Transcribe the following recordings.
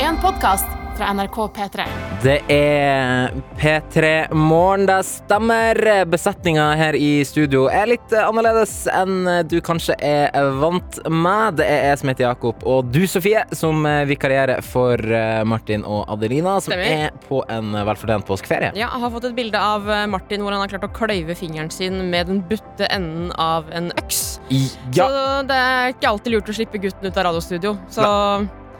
en podkast fra NRK P3. Det er P3 Morgen, det stemmer. Besetninga her i studio er litt eh, annerledes enn du kanskje er vant med. Det er jeg som heter Jakob, og du Sofie, som eh, vikarierer for eh, Martin og Adelina, som Stemmer. er på en velfortjent påskeferie. Ja, jeg har fått et bilde av eh, Martin hvor han har klart å kløyve fingeren sin med den butte enden av en øks. Ja, Så det er ikke alltid lurt å slippe gutten ut av radiostudio. Så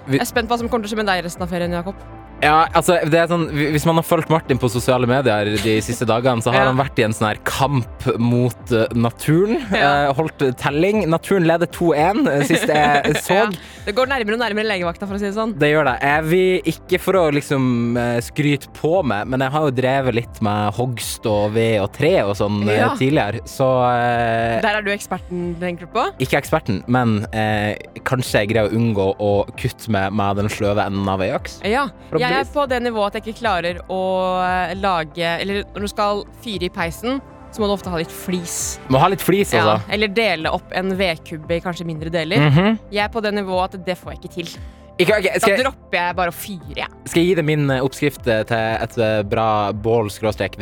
Vi- jeg er spent på hva som kommer til å skje med deg resten av ferien, Jakob. ja, altså, det er sånn, hvis man har fulgt Martin på sosiale medier de siste dagene, så har Ja. han vært i en sånn her kamp mot eh, naturen. Ja. Eh, Holdt telling. Naturen leder 2-1, eh, sist jeg så. Ja. Det går nærmere og nærmere legevakta, for å si det sånn. Det gjør det. Jeg vil ikke for å liksom eh, skryte på meg, men jeg har jo drevet litt med hogst og ved og tre og sånn eh, Ja. tidligere, så eh, Der er du eksperten, tenker du på? ikke eksperten, men eh, kanskje jeg greier å unngå å kutte meg med den sløve enden av ei øks. Eh, Ja. For å bli- Jeg er på det nivået at jeg ikke klarer å eh, lage Eller når du skal fyre i peisen, så må du ofte ha litt flis. Må ha litt flis, Ja. altså. Eller dele opp en vedkubbe i kanskje mindre deler. Mhm. Jeg er på det nivået at det får jeg ikke til. ikke, ok, Da skal, jeg, dropper jeg bare å fyre, jeg. skal jeg gi deg min eh, oppskrift eh, til et eh, bra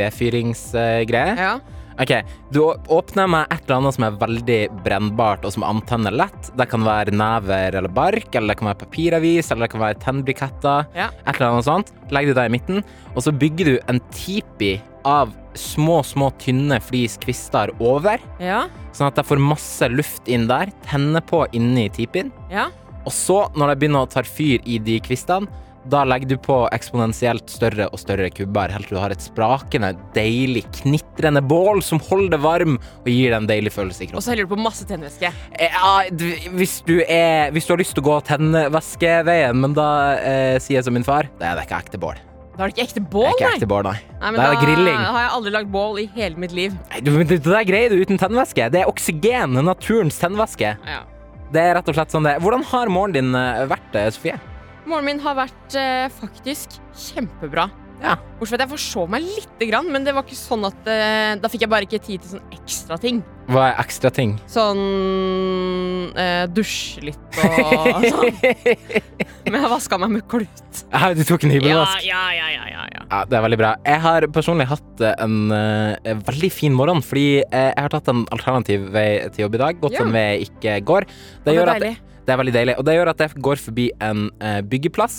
bål-vedfyringsgreie? Ja. Ok, Du å- åpner med et eller annet som er veldig brennbart og som antenner lett. Det kan være never eller bark, eller det kan være papiravis, eller det kan være tennbriketter. Ja. Et eller annet sånt. Legger du det i midten, og så bygger du en tipi av små, små, tynne fliskvister over, Ja. sånn at det får masse luft inn der. Tenner på inni tipien. ja. Og så, når det begynner å ta fyr i de kvistene, da legger du på eksponentielt større og større kubber, helt til du har et sprakende, deilig, knitrende bål som holder det varm og gir deg en deilig følelse i Og kroppen. så heller du på masse tennvæske. Eh, Ja, d- hvis, du er, hvis du har lyst til å gå tennevæskeveien, men da eh, sier jeg som min far, det er det ikke ekte bål. Da er det ikke ekte Det bål, er ikke nei. ekte bål, nei. nei det er grilling. Da har jeg aldri lagd bål i hele mitt liv. Nei, du, det, det der greier du uten tennvæske. Det er oksygen, naturens tennvæske. Ja. Det er rett og slett sånn det er. Hvordan har morgenen din eh, vært, eh, Sofie? Morgenen min har vært eh, faktisk kjempebra. Ja. Bortsett fra at jeg forsov meg lite grann, men det var ikke sånn at eh, Da fikk jeg bare ikke tid til sånn ekstra ting. Hva er ekstra ting? Sånn eh, dusje litt og sånn. Men jeg vaska meg med klut. Ja, Du tok en Ja, hybelvask? ja, ja, ja, ja, ja. Ja, det er veldig bra. Jeg har personlig hatt eh, en eh, veldig fin morgen, fordi eh, jeg har tatt en alternativ vei til jobb i dag. Gått Ja. en vei jeg ikke går. Og det er gjør at, deilig. det er veldig deilig. Og det gjør at jeg går forbi en eh, byggeplass.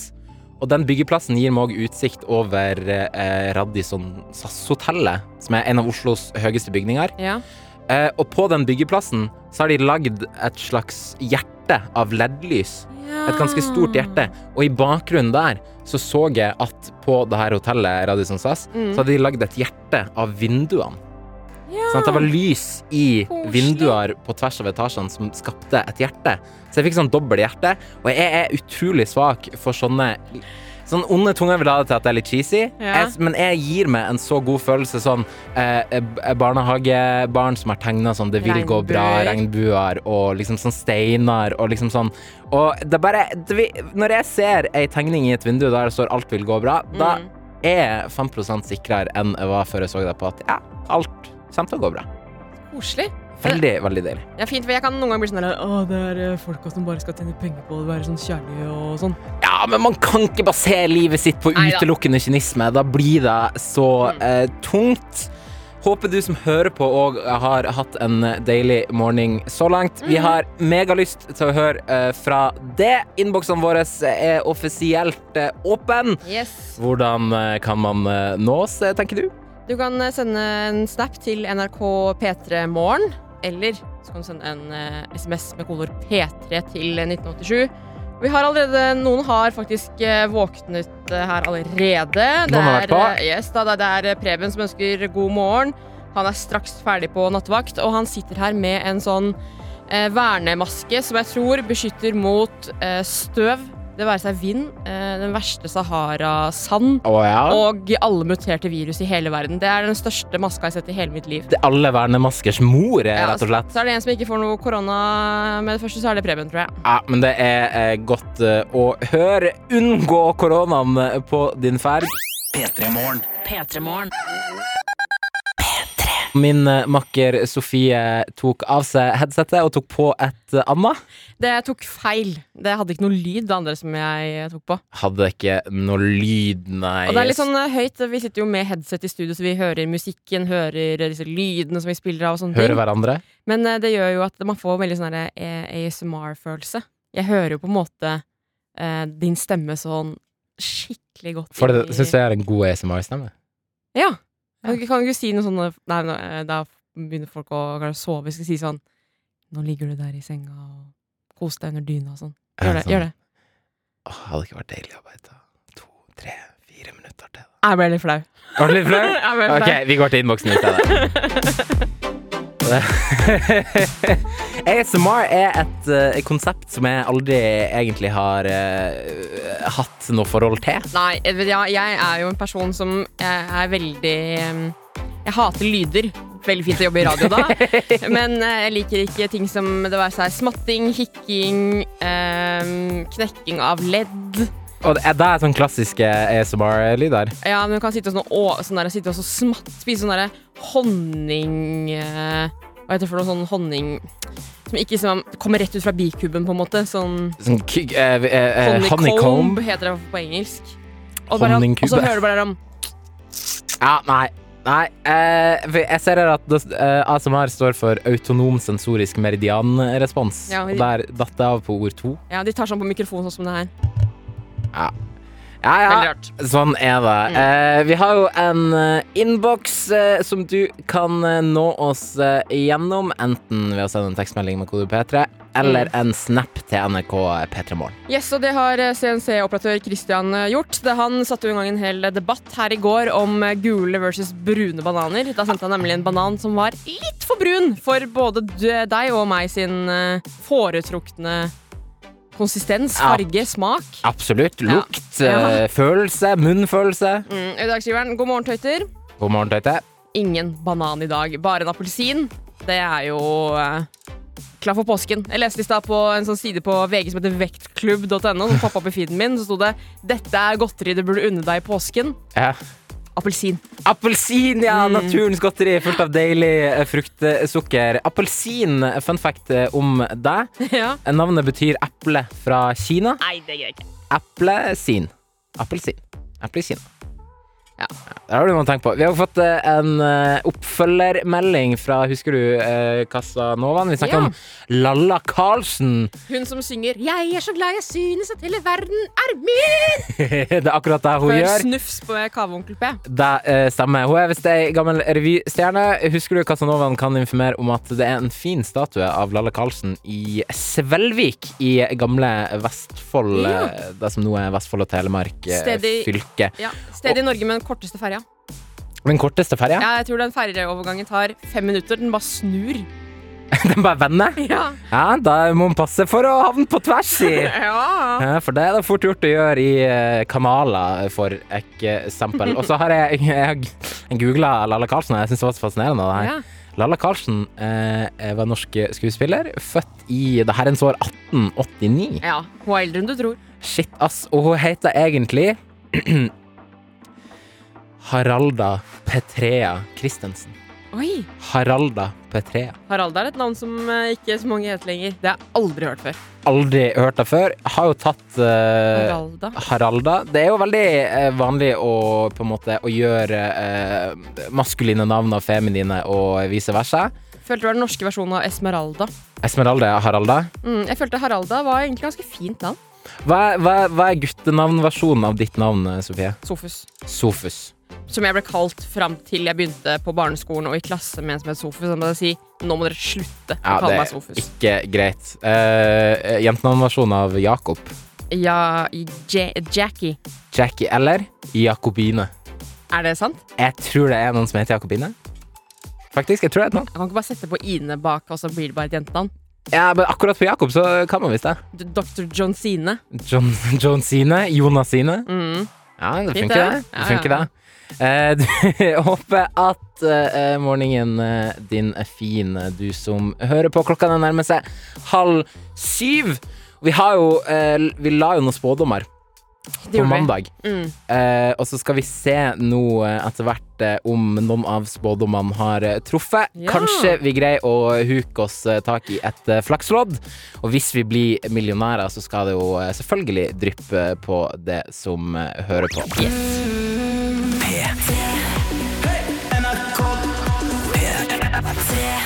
Og den byggeplassen gir meg også utsikt over eh, Radisson SAS-hotellet, som er en av Oslos høyeste bygninger. Ja. Eh, og på den byggeplassen så har de lagd et slags hjerte av LED-lys. Et ganske stort Ah. hjerte. Og i bakgrunnen der så så jeg at på det her hotellet Radisson SAS, Mm. så hadde de lagd et hjerte av vinduene. Ja. Sånn at det var lys i Koselig. vinduer på tvers av etasjene som skapte et hjerte. Så jeg fikk sånn dobbelt hjerte. Og jeg er utrolig svak for sånne Sånn onde tunger vil ha det til at det er litt cheesy, Ja. jeg, men jeg gir meg en så god følelse sånn eh, eh, Barnehagebarn som har tegna sånn 'det vil gå bra', regnbuer og liksom sånn steiner og liksom sånn Og det er bare det, vi- Når jeg ser ei tegning i et vindu der det står 'alt vil gå bra', da Mm. er jeg 5 sikrere enn jeg var før jeg så det på at ja, alt kommer til å gå bra. Koselig. Veldig, veldig deilig. Det er fint, for jeg kan noen ganger bli sånn der, Å, det er eh, folka som bare skal tjene penger på det, være sånn kjærlige og sånn. Ja, men man kan ikke basere livet sitt på Neida. utelukkende kynisme. Da blir det så eh, tungt. Håper du som hører på òg har hatt en deilig morgen så langt. Vi har megalyst til å høre eh, fra det. Innboksene våre eh, er offisielt eh, åpen. Yes. Hvordan eh, kan man eh, nås, eh, tenker du? Du kan eh, sende en snap til NRK P3 Morgen, eller så kan du sende en eh, SMS med kolor P3 til eh, 1987. Vi har allerede, Noen har faktisk eh, våknet eh, her allerede. Noen har vært er, på. eh, yes, da, det er eh, Preben som ønsker god morgen. Han er straks ferdig på nattevakt, og han sitter her med en sånn eh, vernemaske som jeg tror beskytter mot eh, støv, det være seg vind, eh, den verste Sahara-sand Å ja. og alle muterte virus i hele verden. Det er den største maska jeg har sett i hele mitt liv. Det er alle vernemaskers mor, eh, rett og slett. Så er det en som ikke får noe korona med det første, så er det Preben, tror jeg. Ja, men det er eh, godt eh, å høre. Unngå koronaen eh, på din ferd. P3 Morgen. P3-morgen. min eh, makker Sofie tok av seg headsetet og tok på et eh, annet. Det tok feil. Det hadde ikke noe lyd, det andre som jeg eh, tok på. Hadde ikke noe lyd, nei. Og det er litt sånn eh, høyt. Vi sitter jo med headset i studio, så vi hører musikken, hører disse lydene som vi spiller av og sånne Hører ting. hverandre. Men eh, det gjør jo at man får veldig sånn der, eh, ASMR-følelse. Jeg hører jo på en måte eh, din stemme sånn skikkelig godt. For det inn i- syns jeg er en god ASMR-stemme. Ja. Kan ikke- kan ikke du si noe sånn Nei, nå, eh, da begynner folk å kanskje sove. Vi skal si sånn Nå ligger du der i senga og kos deg under dyna og sånn. Gjør det. gjør det Åh, hadde ikke vært deilig å bare ta to, tre, fire minutter til. da? Jeg ble litt flau. Var du litt flau? Jeg ble litt Ok, flau. vi går til innboksen i stedet. ASMR er et eh, konsept som jeg aldri egentlig har eh, hatt noe forhold til. Nei, jeg vet- ja, jeg er jo en person som eh, er veldig em, Jeg hater lyder. Veldig fint å jobbe i radio da. Men eh, jeg liker ikke ting som det være seg smatting, hikking, em, knekking av ledd. Og det er, det er sånn klassiske ASMR-lyder. Ja, men du kan sitte og, sånn, og, sånn der, sitte og så smatt, spise sånn derre honning eh, Hva heter det for noe sånn honning Som ikke som, kommer rett ut fra bikuben, på en måte. Sånn Sånn kyg, eh, eh, eh, honeycomb, honeycomb. heter det på engelsk. Og, bare, og Honningkube. så hører du bare om Ja, nei. Nei, eh, for jeg ser her at det, eh, ASMR står for autonom sensorisk meridianrespons. Ja, og der datt det av på ord to. Ja, de tar sånn på mikrofonen, sånn som det her. Ja, ja. Veldig rart. Sånn er det. Mm. Eh, vi har jo en eh, innboks eh, som du kan eh, nå oss eh, gjennom, enten ved å sende en tekstmelding med kode P3, eller Mm. en snap til NRK P3 Morgen. Yes, og det har eh, CNC-operatør Christian eh, gjort. Det- Han satte jo i gang en hel eh, debatt her i går om eh, gule versus brune bananer. Da sendte han nemlig en banan som var litt for brun for både d- deg og meg sin eh, foretrukne konsistens, Ja. farge, smak. Absolutt. Ja. Lukt, eh, følelse, munnfølelse. Mm, I dag skriver han God morgen, tøyter. God morgen, Tøyte. Ingen banan i dag, bare en appelsin. Det er jo eh, klar for påsken. Jeg leste i stad på en sånn side på VG som heter vektklubb.no, som poppa opp i feeden min, så sto det 'Dette er godteri du burde unne deg i påsken'. Ja. Appelsin. Appelsin, ja! Mm. Naturens godteri fullt av deilig eh, fruktsukker. Appelsin, fun fact eh, om deg. Eh, ja. Navnet betyr eple fra Kina. Nei, det gjør jeg ikke. Appelsin. Appelsin. Appelsin. Det har du noe å tenke på. Vi har jo fått eh, en eh, oppfølgermelding fra Husker du eh, Casanovaen? Vi snakket Ja. om Lalla Carlsen. Hun som synger 'Jeg er så glad jeg synes at hele verden er min'. det er akkurat det hun Før gjør. snufs på kaveonkel P. Det eh, stemmer. Hun er visst ei gammel revystjerne. Husker du Casanovaen kan informere om at det er en fin statue av Lalla Carlsen i Svelvik i gamle Vestfold, Ja. eh, det som nå er Vestfold og Telemark eh, Stedet i- fylke. Ja, Stedet i Norge med den korteste ferja. Den korteste ferja. Ja, jeg tror den ferjeovergangen tar fem minutter. Den bare snur. Den bare vender. Ja. Ja, da må man passe for å havne på tvers i. ja. Ja, For det er det fort gjort å gjøre i eh, kanaler, for eksempel. Og så har jeg, jeg googla Lalla Karlsen, og jeg syns det var så fascinerende. Det her. Ja. Lalla Karlsen eh, var norsk skuespiller, født i det herrens år 1889. ja. Hun er eldre enn du tror. Shit, ass. Og hun heter egentlig Haralda Petrea Christensen. Oi. Haralda Petrea. Harald er et navn som eh, ikke så mange heter lenger. Det har jeg aldri hørt Eh. før. Aldri hørt det før. Har jo tatt eh, Haralda. Haralda. Det er jo veldig eh, vanlig å, på en måte, å gjøre eh, maskuline navn av feminine og vice versa. Følte det var den norske versjonen av Esmeralda. Esmeralda er Haralda. Mm, jeg følte Haralda var egentlig ganske fint navn. Hva, er- hva, er- hva er guttenavnversjonen av ditt navn, eh, Sofie? Sofus. Sofus. som jeg ble kalt fram til jeg begynte på barneskolen og i klasse med en som het Sofus. Han bare si nå må dere slutte å Ja, kalle det meg er Sofus. ikke greit. Uh, Jentenavnversjonen av Jakob. Ja, i Ja- Jackie. Jackie eller Jakobine. Er det sant? Jeg tror det er noen som heter Jakobine. Faktisk, jeg tror det er noen. Jeg kan ikke bare sette på Ine bak, og så blir det bare et jentenavn. Ja, men akkurat på Jakob så kan man visst det. D- Dr. John Sine. John, John Sine, Jonas Sine. Mm. Ja, det Fint, funker, det. det. det, Ja, funker ja. det. Eh, du, jeg håper at eh, morgenen eh, din er fin, eh, du som hører på. Klokka den nærmer seg halv syv. Vi, har jo, eh, vi la jo noen spådommer Det på gjorde vi. mandag. Mm. Eh, og så skal vi se nå eh, etter hvert eh, om noen av spådommene har eh, truffet. Ja. Kanskje vi greier å huke oss eh, tak i et eh, flakslodd. Og hvis vi blir millionærer, så skal det jo eh, selvfølgelig dryppe på det som eh, hører på.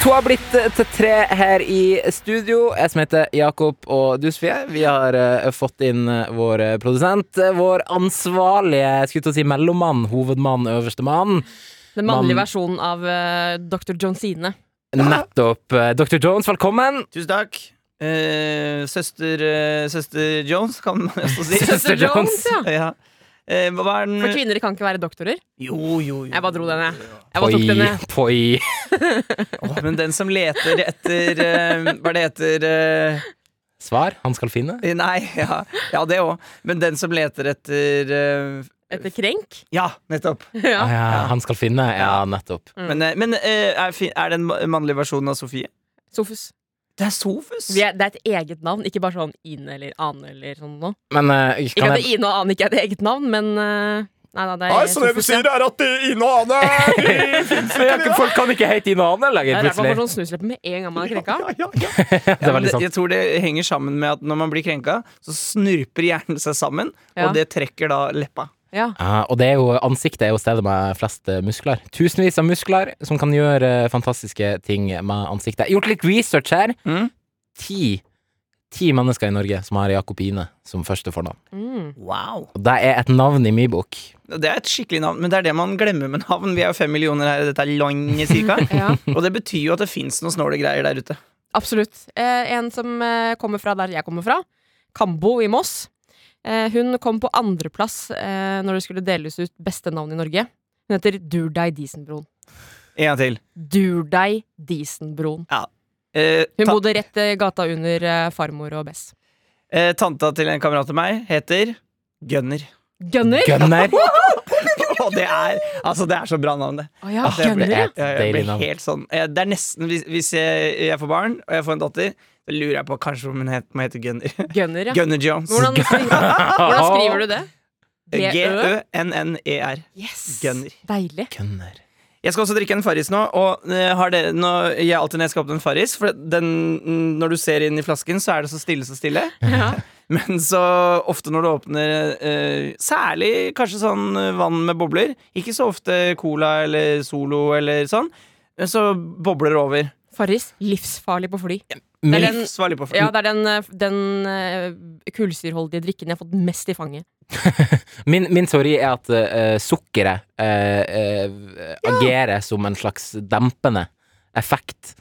To har blitt eh, til tre her i studio. Jeg som heter Jakob og du, Sofie. Vi har eh, fått inn eh, vår eh, produsent, eh, vår ansvarlige jeg skulle til å si mellommann, hovedmann, øverstemann. Den mannlige Mann. versjonen av eh, Dr. John Sine. Nettopp. eh, Dr. Jones, velkommen. Tusen takk. Eh, søster, eh, søster Jones, kan man også si. Søster Jones. ja. ja. Eh, hva er den For kvinner kan ikke være doktorer. Jo, jo, jo. Jeg bare dro den, jeg. Jeg bare tok den, jeg. poi. Åh, men den som leter etter eh, Hva er det heter Svar han skal finne. eh, Nei, ja, ja det òg. Men den som leter etter eh, Etter krenk. Ja, nettopp. Ah, Ja. ja, han skal finne. Ja, nettopp. Mm. Men, eh, men eh, er, fi- er det en ma- mannlig versjon av Sofie? Sofus. Det er Sofus! Vi er, det er et eget navn, ikke bare sånn Ine eller Ane eller sånn noe. Men eh, Ikke kan at jeg Ine og Ane ikke er et eget navn, men eh, Nei, nei, det er Sofus, ja. er at Ine og Ane Folk kan ikke hete Ine og Ane Det lenger, er derfor man får plutselig. sånn snusleppe med en gang man er krenka. Det Ja, var men litt det, sånn. jeg tror det henger sammen med at når man blir krenka, så snurper hjernen seg sammen, Ja. og det trekker da leppa. Ja. Ja, Eh, og det er jo, ansiktet er jo stedet med flest eh, muskler. Tusenvis av muskler som kan gjøre eh, fantastiske ting med ansiktet. Jeg har gjort litt research her. Mm. Ti, ti mennesker i Norge som har Jakobine som første fornavn. Mm. Wow. Og det er et navn i min bok. Det er et skikkelig navn, men det er det man glemmer med navn. Vi er jo fem millioner her i dette landet, cirka. ja. Og det betyr jo at det fins noen snåle greier der ute. Absolutt. Eh, en som eh, kommer fra der jeg kommer fra, Kambo i Moss. Eh, hun kom på andreplass eh, når det skulle deles ut beste navn i Norge. Hun heter Durdei Disenbroen. En gang til. Durdei Disenbroen. Eh, Hun ta bodde rett eh, gata under eh, farmor og Bess. eh, tanta til en kamerat av meg heter Gunner. Gunner! Gunner. Og det er altså det er så bra navn, det. Å ja, det Gunner, ble- ja. Jeg, jeg Deilig blir navn. helt sånn eh, Det er nesten Hvis, hvis jeg, jeg får barn, og jeg får en datter, så lurer jeg på kanskje om hun het, må hete Gunner. Gunner, ja. Gunner Jones. Hvordan, skriver, hvordan skriver du det? G-Ø? G-ø-n-n-e-r. Yes. Gunner. Deilig. Gunner. Jeg skal også drikke en Farris nå, og eh, har det, nå, jeg alltid når jeg skal åpne en Farris For den, mm, når du ser inn i flasken, så er det så stille, så stille. Ja. Men så ofte når du åpner eh, særlig kanskje sånn eh, vann med bobler, ikke så ofte cola eller Solo eller sånn, men så bobler det over. Farris. Livsfarlig på fly. Det Min er den- livsfarlig på Ja, det er den, eh, den eh, kullsyrholdige drikken jeg har fått mest i fanget. Min, min teori er at eh, sukkeret eh, eh, agerer som en slags dempende effekt.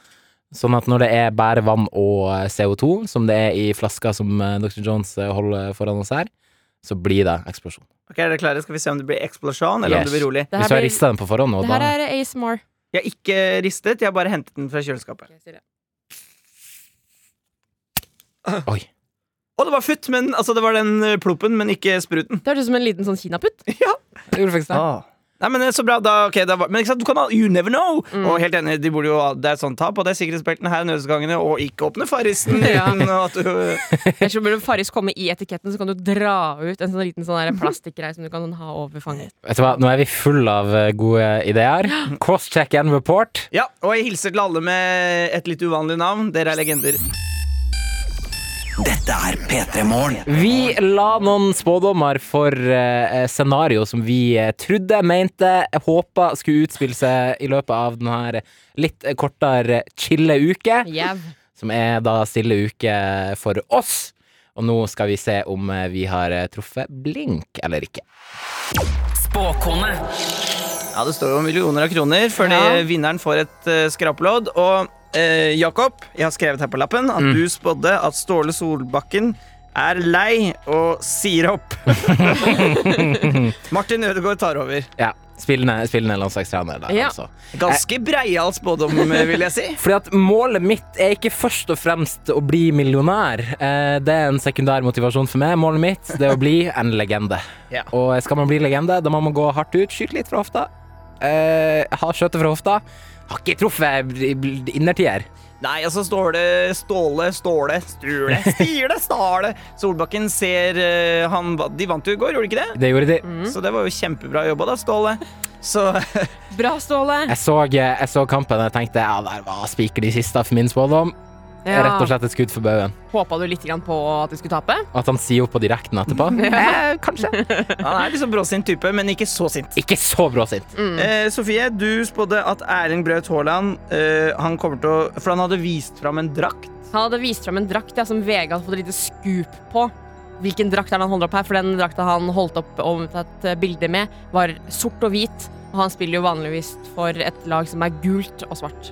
Sånn at når det er bare vann og eh, CO2, som det er i flaska som eh, Dr. Jones eh, holder foran oss her, så blir det eksplosjon. Ok, er dere klare? Skal vi se om det blir eksplosjon, eller Yes. om det blir rolig? Det her Hvis du har blir- rista den på forhånd nå, Det her da er ASMR. Jeg har ikke ristet, jeg har bare hentet den fra kjøleskapet. Oi. Og det var futt, men altså det var den eh, ploppen, men ikke spruten. Det høres ut som en liten sånn kinaputt. Det gjorde faktisk det. Nei, men eh, så bra, da, ok, da var- Men ikke sant, du kan ha You never know! Mm. Og helt enig, de burde jo ha- det er sånn tap, og det er sikkerhetsbeltene her, nødutgangene, og ikke åpne farrisen. Ja. uten at du Ellers så burde Farris komme i etiketten, så kan du dra ut en sånn liten sånn der plastikkgreie som du kan ha over fanget. Vet du hva, nå er vi full av eh, gode ideer. Cross-check and report. Ja, og jeg hilser til alle med et litt uvanlig navn. Dere er legender. Vi la noen spådommer for eh, scenario som vi eh, trodde, mente, håpa skulle utspille seg i løpet av denne litt eh, kortere chille uke, Jæv. som er da stille uke for oss. Og nå skal vi se om eh, vi har eh, truffet blink eller ikke. Ja, det står jo millioner av kroner fordi Ja. vinneren får et eh, skrapelodd. Og eh, Jakob, jeg har skrevet her på lappen at du spådde at Ståle Solbakken er lei og sier opp. Martin Ødegaard tar over. Ja, Spillende, spillende landslagstrener der, Ja. altså. Ganske breial spådom, eh, vil jeg si. Fordi at målet mitt er ikke først og fremst å bli millionær. Eh, Det er en sekundær motivasjon for meg. Målet mitt det er å bli en legende. Ja. Og skal man bli legende, da må man gå hardt ut, skyte litt fra hofta. Eh, ha skjøtet fra hofta. Har ikke truffet innertier. Nei, altså står det Ståle, Ståle, Stule, Stile, Stale. Solbakken ser eh, han va- De vant jo i går, gjorde de ikke det? Det gjorde de. Så det var jo kjempebra jobba da, Ståle. Så Bra, Ståle! Jeg så, eh, jeg så kampen og jeg tenkte ja, der var spiker de siste for min spådom. Eh, Rett og slett et skudd for baugen. Håpa du litt grann på at de skulle tape? At han sier opp på direkten etterpå. Eh, kanskje. han er liksom bråsint type, men ikke så sint. Ikke så bråsint. Eh, Sofie, du spådde at Erling Braut Haaland eh, Han kommer til å For han hadde vist fram en drakt. Han hadde vist fram en drakt ja, som VG hadde fått et lite skup på. Hvilken drakt er det han holder opp her? For den drakta han holdt opp og tatt eh, bilde med, var sort og hvit. Og han spiller jo vanligvis for et lag som er gult og svart.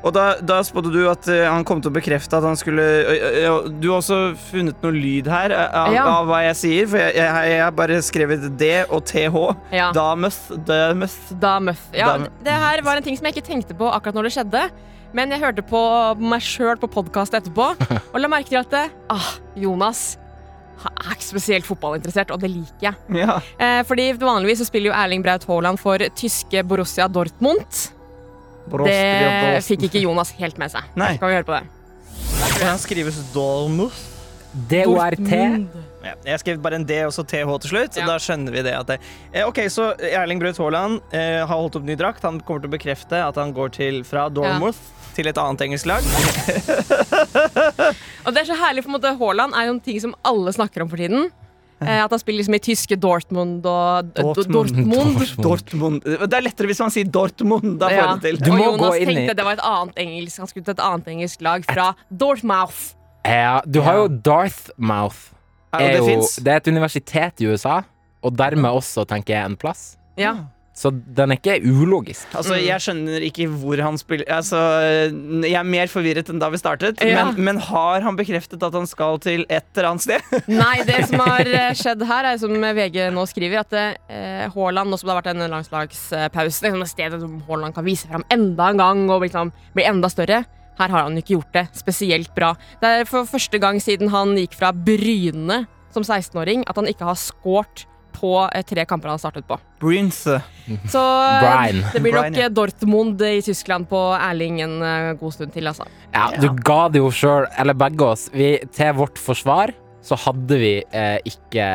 Og da, da spådde du at eh, han kom til å bekrefte at han skulle ø- ø- ø- Du har også funnet noe lyd her eh, av, Ja. av hva jeg sier, for jeg, jeg, jeg har bare skrevet D og TH. Ja. Da must, da must. Da Muff. Ja, Da- det her var en ting som jeg ikke tenkte på akkurat når det skjedde. Men jeg hørte på meg sjøl på podkast etterpå og la merke til at det, ah, Jonas han er ikke spesielt fotballinteressert, og det liker jeg. Ja. Eh, fordi vanligvis så spiller jo Erling Braut Haaland for tyske Borussia Dortmund. Det fikk ikke Jonas helt med seg. Nei. Skal vi høre på det? Han skrives Dolmus. DORT. Ja, jeg skrev bare en D og så TH til slutt, Ja. og da skjønner vi det. At det eh, ok, Så Erling Braut Haaland eh, har holdt opp ny drakt. Han kommer til å bekrefte at han går til, fra Dormouth til et annet engelsk lag. Og det er så herlig, for på en måte, Haaland er jo en ting som alle snakker om for tiden. Eh, at han spiller liksom i tyske Dortmund og Dortmund. Eh, Dortmund. Dortmund. Det er lettere hvis man sier Dortmund. Da får Ja. jeg det til. Du og må Jonas gå inn i- tenkte det var et annet engelsk Han skulle til et annet engelsk lag fra Dortmouth. Ja, du har jo Darthmouth. Ja, og Er det jo, fins. det er et universitet i USA, og dermed også, tenker jeg, en plass. Ja. Så den er ikke ulogisk. Altså, Mm. jeg skjønner ikke hvor han spiller altså, Jeg er mer forvirret enn da vi startet. Ja. Men, men har han bekreftet at han skal til et eller annet sted? Nei, det som har eh, skjedd her, er som VG nå skriver, at eh, Haaland, nå som det har vært en landslagspause, liksom et sted som Haaland kan vise fram enda en gang og liksom bli enda større. Her har han ikke gjort det spesielt bra. Det er for første gang siden han gikk fra Bryne som 16-åring, at han ikke har skåret på eh, tre kamper han har startet på. Brinse. Så eh, Brian. det blir Brian, nok ja. eh, Dortmund i Tyskland på Erling en eh, god stund til, altså. Ja, du ga det jo sjøl, eller begge oss. Vi, til vårt forsvar så hadde vi eh, ikke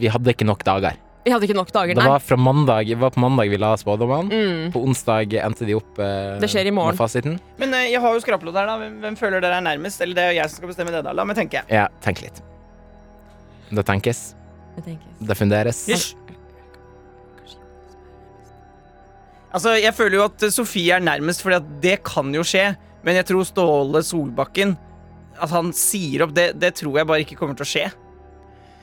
Vi hadde ikke nok dager. Vi hadde ikke nok dager, Det nei. var fra mandag Det var på mandag vi la spådommene. Mm. På onsdag endte de opp eh, Det skjer i morgen. med fasiten. Men eh, jeg har jo skrapelodd her, da. Hvem, hvem føler dere er nærmest? Eller det er jo jeg som skal bestemme det, da. La meg tenke. Ja, tenk litt. Det tenkes. Det tenkes. Det funderes. Hysj. Altså, jeg føler jo at eh, Sofie er nærmest, fordi at det kan jo skje. Men jeg tror Ståle Solbakken At han sier opp, det, det tror jeg bare ikke kommer til å skje.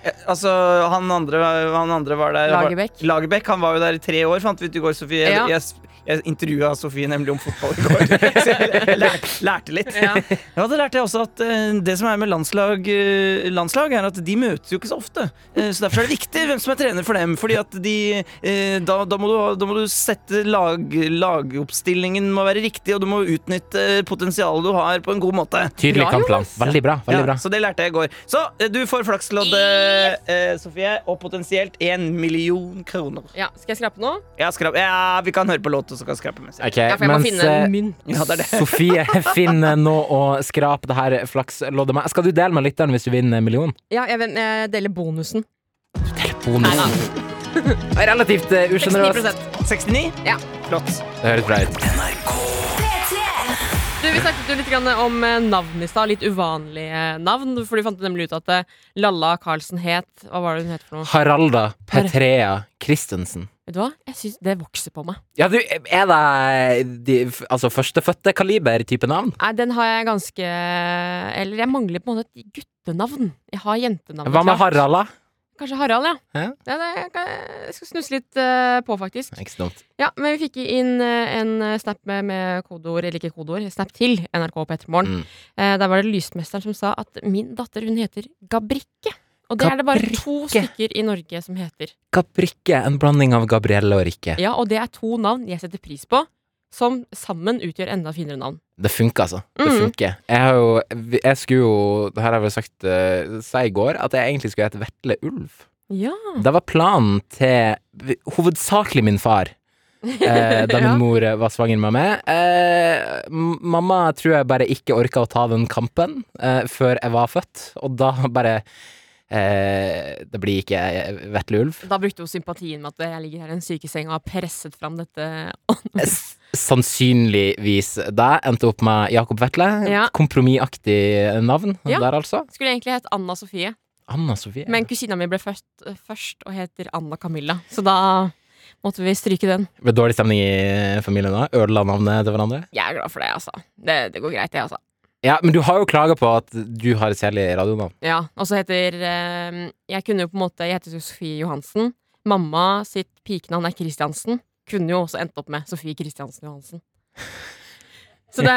Eh, Altså, han andre, han andre var der Lagerbäck. Lagerbäck, Han var jo der i tre år, fant vi ut i går, Sofie. Ja. Jeg, jeg, jeg intervjua Sofie nemlig om fotball i går. Så jeg lærte, lærte litt. Ja. Ja, det lærte jeg også at eh, det som er med landslag, eh, landslag er at de møtes jo ikke så ofte. Eh, så derfor er det viktig hvem som er trener for dem. Fordi at de eh, da, da, må du, ha- da må du sette lag, lagoppstillingen må være riktig, og du må utnytte potensialet du har, på en god måte. Tydelig Bra, kampplan. Jonas. Veldig bra. veldig Ja, bra Så det lærte jeg i går. Så eh, du får flakslodd, eh, Sofie, og potensielt én million kroner. ja, skal jeg skrape nå? Ja, skrap, ja, vi kan høre på låt, og så kan skrape mens jeg Ok, Ja, for jeg må mens, finne eh, en mynt. Ja, det er det. Sofie finner noe å skrape det her flaksloddet med. Skal du dele med lytteren hvis du vinner en million? Ja, jeg, vet- jeg deler bonusen. Telefonen. Relativt eh, usjenerøst. 69 69? Ja. Flott. Det høres bra ut. Du, Vi snakket jo litt grann om eh, navn i stad. Litt uvanlige navn. For du fant nemlig ut at eh, Lalla Carlsen het Hva var det hun het for noe? Haralda Petrea Christensen. Vet du hva? Jeg synes Det vokser på meg. Ja, du, er det de, f- altså førstefødte kaliber-type navn? Nei, Den har jeg ganske Eller jeg mangler på en måte et guttenavn. Jeg har jentenavn. Hva med klart. Haralda? Kanskje Harald, ja. Ja. ja det, jeg, kan, jeg skal snusse litt eh, på, faktisk. Ikke så dumt. Ja, men vi fikk inn eh, en eh, snap med, med kodeord, eller ikke kodeord, snap til NRK på Ettermorgen. Mm. Eh, der var det lysmesteren som sa at min datter, hun heter Gabrikke. Og det er det bare to Gabrikke. stykker i Norge som heter. Gabrikke. En blanding av Gabrielle og Rikke. Ja, og det er to navn jeg setter pris på, som sammen utgjør enda finere navn. Det funker, altså. Det Mm. funker. Jeg har jo Jeg skulle jo Det her har jeg vel sagt uh, sa i går, at jeg egentlig skulle hete Vetle Ulv. Ja. Det var planen til hovedsakelig min far. eh, da min Ja. mor var svanger med meg. Eh, m- mamma tror jeg bare ikke orka å ta den kampen eh, før jeg var født, og da bare eh, Det blir ikke vetle ulv. Da brukte hun sympatien med at jeg ligger her i en sykeseng og har presset fram dette. S- Sannsynligvis deg. Endte opp med Jakob Vetle. Ja. Kompromissaktig navn Ja. der, altså. Skulle egentlig hett Anna Sofie, Anna Sofie. men kusina mi ble først, først og heter Anna Camilla, så da måtte vi stryke den. Det ble dårlig stemning i familien da? Ødela navnet til hverandre? Jeg er glad for det, altså. Det, det går greit, det, altså. Ja, men du har jo klaga på at du har et kjedelig radionavn. Ja, og så heter eh, Jeg kunne jo på en måte Jeg heter jo Sofie Johansen. Mamma sitt pikenavn er Kristiansen. Kunne jo også endt opp med Sofie Kristiansen Johansen. Så det,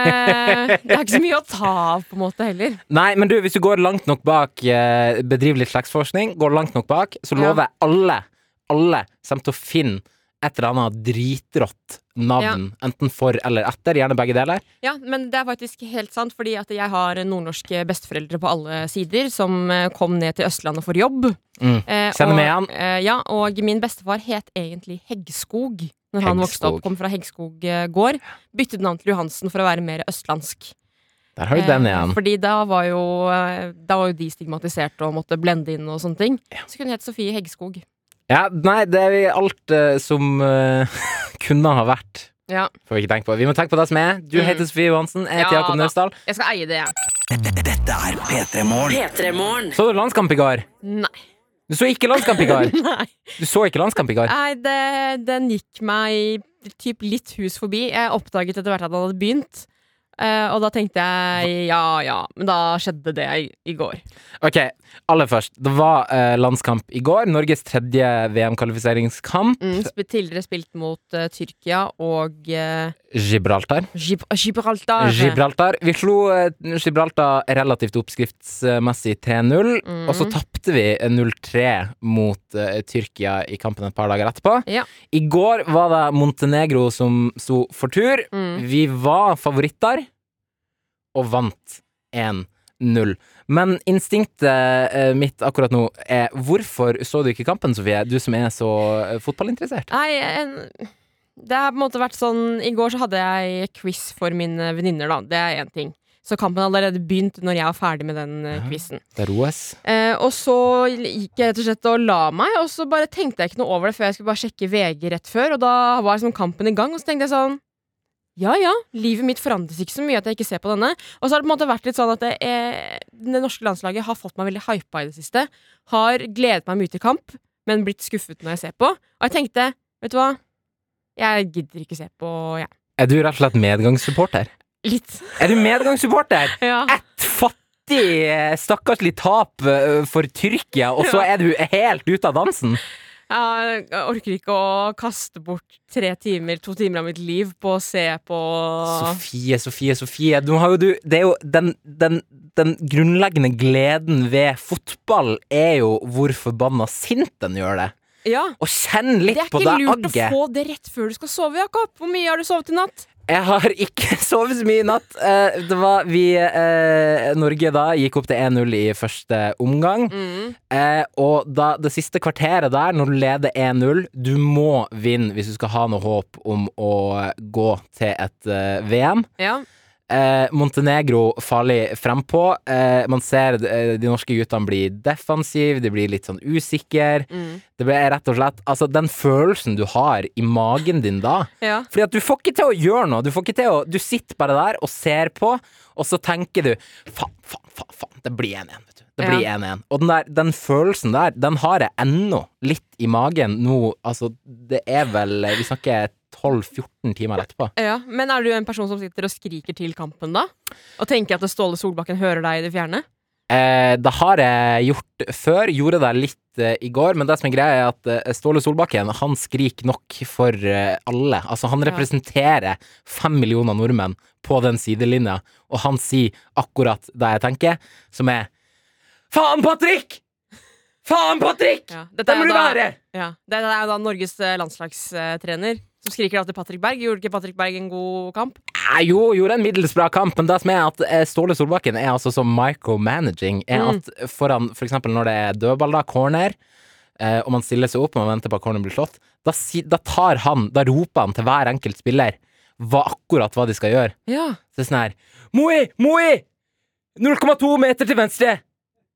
det er ikke så mye å ta av, på en måte, heller. Nei, men du, hvis du går langt nok bak, eh, bedriver litt slektsforskning, går langt nok bak, så Ja. lover jeg alle, alle kommer til å finne et eller annet dritrått navn, enten for eller etter, gjerne begge deler. Ja, men det er faktisk helt sant, fordi at jeg har nordnorske besteforeldre på alle sider som eh, kom ned til Østlandet for jobb. Mm. Eh, Kjenner og- meg igjen. Eh, ja, og min bestefar het egentlig Heggskog når han vokste Heggskog. opp, kom fra Heggskog eh, gård. Byttet navn til Johansen for å være mer østlandsk. Der har du den Eh, igjen. Fordi da var, jo, eh, da var jo de stigmatiserte og måtte blende inn og sånne ting. Så kunne hun hete Sofie Heggskog. Ja, nei, det er alt eh, som eh, kunne ha vært. Ja. Får vi ikke tenke på. Vi må tenke på det som er. Du Mm. heter Sofie Johansen, jeg heter Ja Jakob da. Naustdal. Jeg skal eie det, jeg. Så du landskamp i går? Nei. Du så ikke landskamp i går? Nei. Du så ikke landskamp i går? Nei, det, den gikk meg typ litt hus forbi. Jeg oppdaget etter hvert at den hadde begynt. Eh, og da tenkte jeg ja ja, men da skjedde det i, i går. Ok, aller først. Det var eh, landskamp i går. Norges tredje VM-kvalifiseringskamp. Mm, sp- tidligere spilt mot eh, Tyrkia og eh, Gibraltar. Gib Gibraltar. Gibraltar. Vi slo eh, Gibraltar relativt oppskriftsmessig 3-0. Mm. Og så tapte vi 0-3 mot eh, Tyrkia i kampen et par dager etterpå. Ja. I går var det Montenegro som sto for tur. Mm. Vi var favoritter og vant 1-0. Men instinktet eh, mitt akkurat nå er hvorfor så du ikke kampen, Sofie? Du som er så eh, fotballinteressert. Nei, en, det har på en måte vært sånn I går så hadde jeg quiz for mine venninner, da. Det er én ting. Så kampen hadde allerede begynt når jeg var ferdig med den eh, Ja. quizen. Det er OS. Eh, og så gikk jeg rett og slett og la meg, og så bare tenkte jeg ikke noe over det før jeg skulle bare sjekke VG rett før, og da var liksom kampen i gang, og så tenkte jeg sånn ja ja, livet mitt forandres ikke så mye at jeg ikke ser på denne. Og så har det på en måte vært litt sånn at det, eh, det norske landslaget har fått meg veldig hypa i det siste. Har gledet meg mye til kamp, men blitt skuffet når jeg ser på. Og jeg tenkte, vet du hva, jeg gidder ikke se på, jeg. Er du rett og slett medgangssupporter? Litt. Er du medgangssupporter? Ja. Ett fattig, eh, stakkarslig tap eh, for Tyrkia, og så Ja. er du helt ute av dansen? Jeg orker ikke å kaste bort tre timer, to timer av mitt liv på å se på Sofie, Sofie, Sofie. Nå har jo du, det er jo den, den, den grunnleggende gleden ved fotball er jo hvor forbanna sint den gjør det. Ja. Og kjenn Det litt er på ikke det lurt å agget. få det rett før du skal sove, Jakob. Hvor mye har du sovet i natt? Jeg har ikke sovet så mye i natt. Eh, det var vi eh, Norge da gikk opp til 1-0 i første omgang. Mm. Eh, og da, det siste kvarteret der, når du leder 1-0 Du må vinne hvis du skal ha noe håp om å gå til et eh, VM. Ja. Eh, Montenegro farlig frempå. Eh, man ser eh, de norske guttene bli defensive, de blir litt sånn usikre. Det blir rett og slett Altså, den følelsen du har i magen din da ja. Fordi at du får ikke til å gjøre noe. Du, får ikke til å, du sitter bare der og ser på, og så tenker du faen, faen, faen, faen det blir 1-1. vet du. Det blir 1-1. Og den, der, den følelsen der, den har jeg ennå litt i magen nå. Altså, det er vel Vi snakker 12-14 timer etterpå. ja. Men er du en person som sitter og skriker til kampen, da? Og tenker at Ståle Solbakken hører deg i det fjerne? Eh, det har jeg gjort før. Gjorde det litt eh, i går. Men det som er greia, er at eh, Ståle Solbakken han skriker nok for eh, alle. Altså, han Ja. representerer fem millioner nordmenn på den sidelinja, og han sier akkurat det jeg tenker, som er Faen, Patrick! Faen, Patrick! Ja. Det må du være! Ja. Det er jo da Norges eh, landslagstrener som skriker da til Patrick Berg. Gjorde ikke Patrick Berg en god kamp? Nei, Ah, jo, gjorde en middels bra kamp, men det som er at eh, Ståle Solbakken er altså så micromanaging. Er Mm. at foran for eksempel når det er dødball, da, corner, eh, og man stiller seg opp og man venter på at corneren blir slått, da, si, da tar han, da roper han til hver enkelt spiller hva, akkurat hva de skal gjøre. Ja. Så det er sånn her Moi! Moi! 0,2 meter til venstre!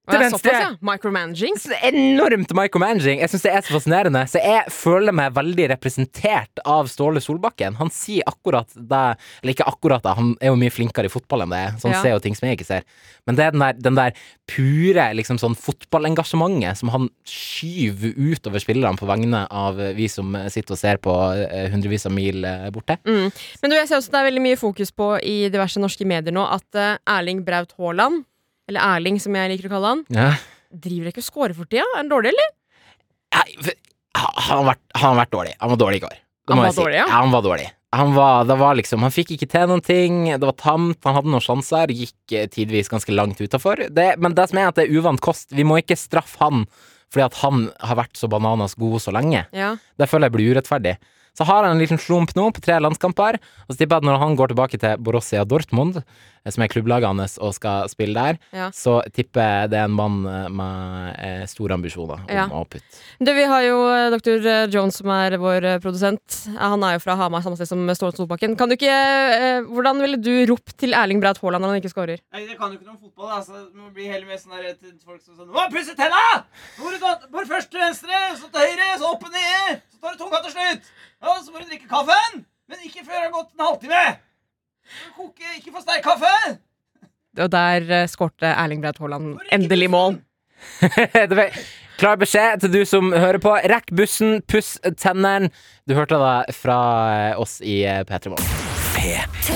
Og jeg er venstre. såpass, ja. Micromanaging. Så enormt micromanaging. Jeg syns det er så fascinerende. Så jeg føler meg veldig representert av Ståle Solbakken. Han sier akkurat det Eller ikke akkurat det, han er jo mye flinkere i fotball enn det jeg er, så han Ja. ser jo ting som jeg ikke ser. Men det er den der, den der pure liksom sånn fotballengasjementet som han skyver utover spillerne på vegne av eh, vi som eh, sitter og ser på eh, hundrevis av mil eh, borte. Mm. Men du, jeg ser også det er veldig mye fokus på i diverse norske medier nå at eh, Erling Braut Haaland, eller Erling som jeg liker å kalle han, Ja. driver ikke og scorer for tida. Er han dårlig, eller? Nei, for- han han har vært, han har vært dårlig. Han var dårlig i går. Det Han må var jeg si. dårlig, ja? Han var dårlig. Han, var, det var liksom, han fikk ikke til noen ting, det var tamt, han hadde noen sjanser, gikk eh, tidvis ganske langt utafor. Men det som er at det er uvant kost. Vi må ikke straffe han fordi at han har vært så bananas god så lenge. Ja. Det føler jeg blir urettferdig. Så har han en liten slump nå på tre landskamper, og så tipper jeg at når han går tilbake til Borussia Dortmund, eh, som er klubblaget hans, og skal spille der, Ja. så tipper jeg det er en mann eh, med eh, store ambisjoner om Ja. å putte. Du, vi har jo eh, dr. Jones som er vår eh, produsent. Eh, Han er jo fra Hamar, samme sted som Ståle Solbakken. Kan du ikke, eh, hvordan ville du ropt til Erling Braut Haaland når han ikke scorer? Nei, Jeg kan jo ikke noe om fotball, da, så det blir heller mer sånn der til folk som sånn Å, pusse tenna! Hvor du tar- Bare først til venstre, så til høyre, så opp og ned, så tar du tunga til slutt. Ja, så må du drikke kaffen, men ikke før det har gått en halvtime. Du må Koke, ikke for sterk kaffe. Og der eh, skårte Erling Braut Haaland endelig mål. Det var Klar beskjed til du som hører på. Rekk bussen, puss tennene. Du hørte det fra eh, oss i P3 Morgen.